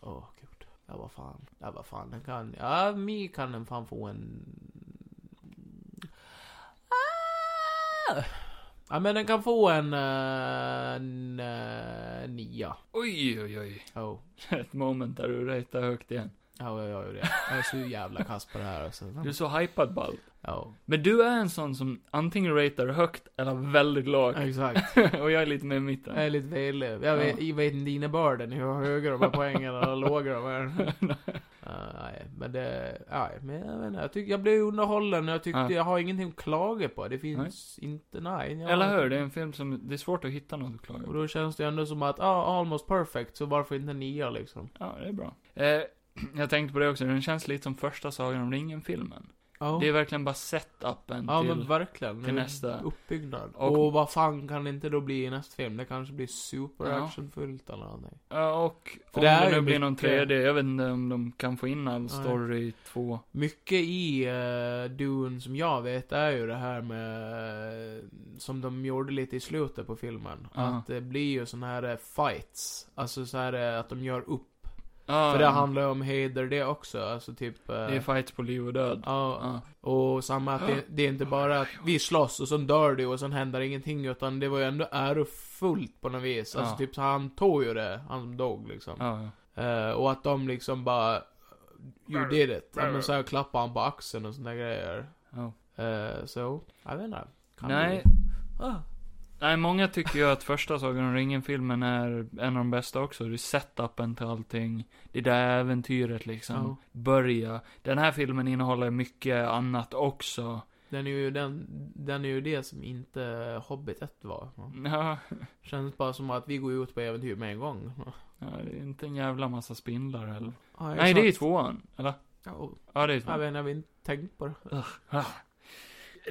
Åh, gud. Ja, vad fan. Ja, vad fan. Den kan... Ja, mig kan den fan få en... Ah! Ja, men den kan få en... eh, en eh, nia. Oj, oj, oj. Oh. Ett moment där du ratear högt igen. Ja, jag gör ju det. Jag är så jävla kass på det här alltså. Du är så hypad Ball. Ja, Men du är en sån som antingen ratear högt eller väldigt lågt. exakt. och jag är lite mer i mitten. Jag är lite välev. Jag vet, jag vet inte innebörden hur höga de här poängen och låga de är. Eh, nej, men det... Nej, men jag vet inte. Jag, tyck, jag blev underhållen och jag tyckte Ja. jag har ingenting att klaga på. Det finns inte... Nej. Jag, Eller hur? Det är en film som, det är svårt att hitta något att klaga Och på. då känns det ändå som att, ja, ah, almost perfect, så varför inte nia liksom? Ja, det är bra. Eh, jag tänkte på det också, den känns lite som första Sagan om ringen-filmen. Ja. Det är verkligen bara setupen Ja till... men verkligen. till Det är nästa. Uppbyggnad. Och, Och- vad fan kan det inte då bli i nästa film? Det kanske blir Ja. superactionfullt eller någonting. Ja, och För om det det, är ju nu blir någon mycket- 3D, jag vet inte om de kan få in all Nej. story i två. Mycket i uh, Dune som jag vet är ju det här med, eh, som de gjorde lite i slutet på filmen. Ja. Att det blir ju såna här eh, fights. Alltså så här eh, att de gör upp. Ja, För det handlar ju om heder det också. Alltså typ... eh, det är fights på liv och död. ja, Ja. Och samma att det, det är inte bara att vi slåss och sen dör du och sen händer ingenting utan det var ju ändå ärofullt på något vis. Alltså Ja. typ så han tog ju det, han som dog liksom. Ja, ja. Eh, och att de liksom bara... You did it. Ja, men så här klappar han på axeln och sådana grejer. ja. Eh, så, jag vet inte. Kan Nej. bli. Ah. Nej, många tycker ju att första Sagan om ringen-filmen är en av de bästa också. Det är setupen till allting. Det där äventyret liksom. Ja. Börja. Den här filmen innehåller mycket annat också. Den är ju den, den är ju det som inte Hobbit 1 var. Ja, Känns bara som att vi går ut på äventyr med en gång. ja det är inte en jävla massa spindlar heller. Ja, Nej, det är ju exakt. tvåan. Eller? Ja, Ja, det är Jag tvåan. vet inte, jag har inte tänkt på det.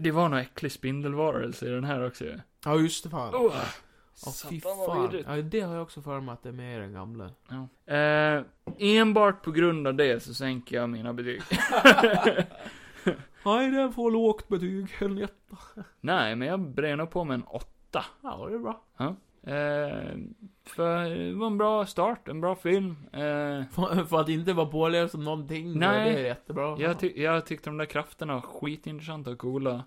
Det var någon äcklig spindelvarelse i den här också ju. Oh! Ja, just det fan. Åh, Ja, fy Satan, vad fan. vidrigt. Ja, det har jag också för mig att det är med i den gamla. Ja. Eh, enbart på grund av det så sänker jag mina betyg. Nej, den får lågt betyg. En jätte- Nej, men jag bränner på med en åtta. Ja, det är bra. Eh, för det var en bra start, en bra film. Eh, För, för att inte vara påläst som någonting. Nej. Det är jättebra. jag, ty- jag tyckte de där krafterna var skitintressanta och coola.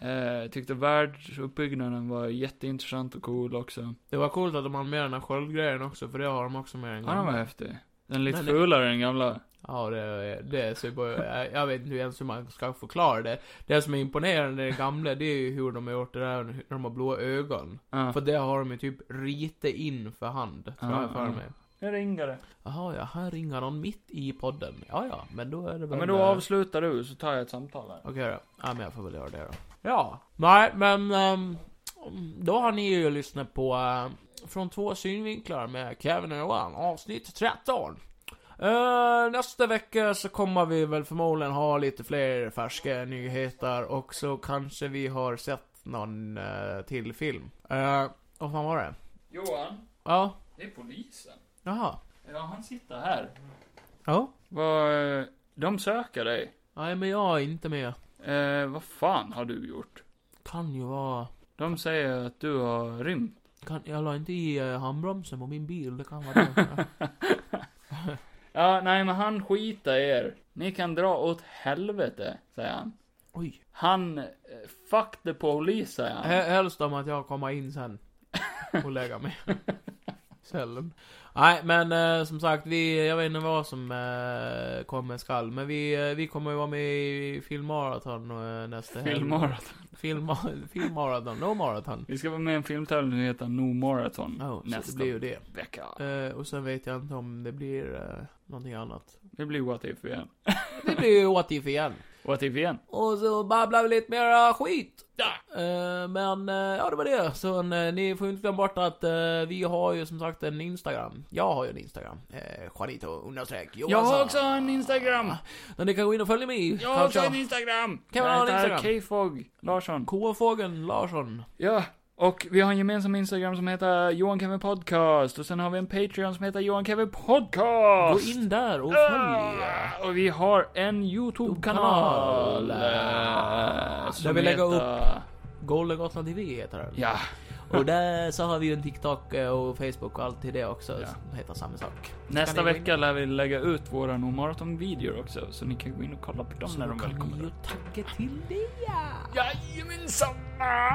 Ja. Eh, tyckte världsuppbyggnaden var jätteintressant och cool också. Det var coolt att de hade med den här sköldgrejen också, för det har de också med i den Ja, den var gamla. häftig. Den är lite Men det- fulare än gamla. Ja, det är, det är super, jag, jag vet inte ens hur man ska förklara det. Det som är imponerande i det gamla, det är ju hur de har gjort det där när de har blåa ögon. Ja. För det har de ju typ ritat in för hand, tror jag Ja, för ja. mig. Nu ringer det. Jaha, ja, här ringer någon mitt i podden. Ja, ja, men då är det Ja, väl... men då eh, avslutar du, så tar jag ett samtal här. Okej då. Ja, men jag får väl göra det då. Ja. Nej, men... ehm, då har ni ju lyssnat på eh, Från två synvinklar med Kevin och Johan, avsnitt 13. Eh, nästa vecka så kommer vi väl förmodligen ha lite fler färska nyheter och så kanske vi har sett någon eh, till film. Eh, och vad var det? Johan, Ja, det är polisen. jaha. Ja, han sitter här. Ja. Vad... eh, De söker dig. Nej, men jag är inte med. Eh, vad fan har du gjort? Kan ju vara... De säger att du har rymt. Kan, jag la inte i eh, handbromsen på min bil, det kan vara det. Ja, nej men han skiter i er. Ni kan dra åt helvete, säger han. Oj. Han, eh, fuck the police, säger han. Hä- Helst om att jag kommer in sen och lägga mig. Sällan. Nej, men eh, som sagt, vi, jag vet inte vad som eh, kommer skall, men vi, eh, vi kommer ju vara med i filmmaraton eh, nästa helg. Filmmaraton. Filmmar- Filmmaraton, no maraton. Vi ska vara med i en filmtävling som heter No Marathon Ja, så nästa det blir ju det. vecka. Eh, och sen vet jag inte om det blir eh, någonting annat. Det blir What If igen. Det blir ju What If igen. Och typ igen. Och så babblar vi lite mera skit. Eh, men eh, ja, det var det. Så eh, ni får ju inte glömma bort att eh, vi har ju som sagt en Instagram. Jag har ju en Instagram. Eh, Juanito understreck Jag Johansson. har också en Instagram! Där ni kan gå in och följa mig i. Jag har också en Instagram! Kan man ha en Jag heter Instagram? K-Fog Larsson. K-fågeln Larsson. Ja, och vi har en gemensam Instagram som heter Johan Kevin Podcast. Och sen har vi en Patreon som heter Johan Kevin Gå Podcast. in där och följ. Ah, Och vi har en YouTube-kanal. eh, som Där vi lägger heter- Golden Gotland TV heter den. Ja, Och där så har vi ju en TikTok eh, och Facebook och allt till det också. Ja. Som heter samma sak. nästa ni gå in? vecka lär vi lägga ut våra No Marathon-videor också. Så ni kan gå in och kolla på dem när de väl kan kommer ni ju upp. tacka till det ja. Jajamensan!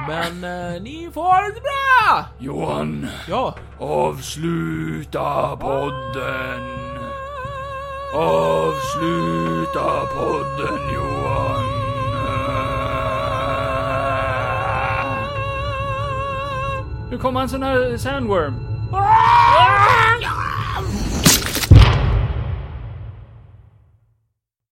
Men eh, ni får ha det bra! Johan, Ja. avsluta podden! Ah! Avsluta podden Johan! Nu kommer en sån här sandworm. Ah!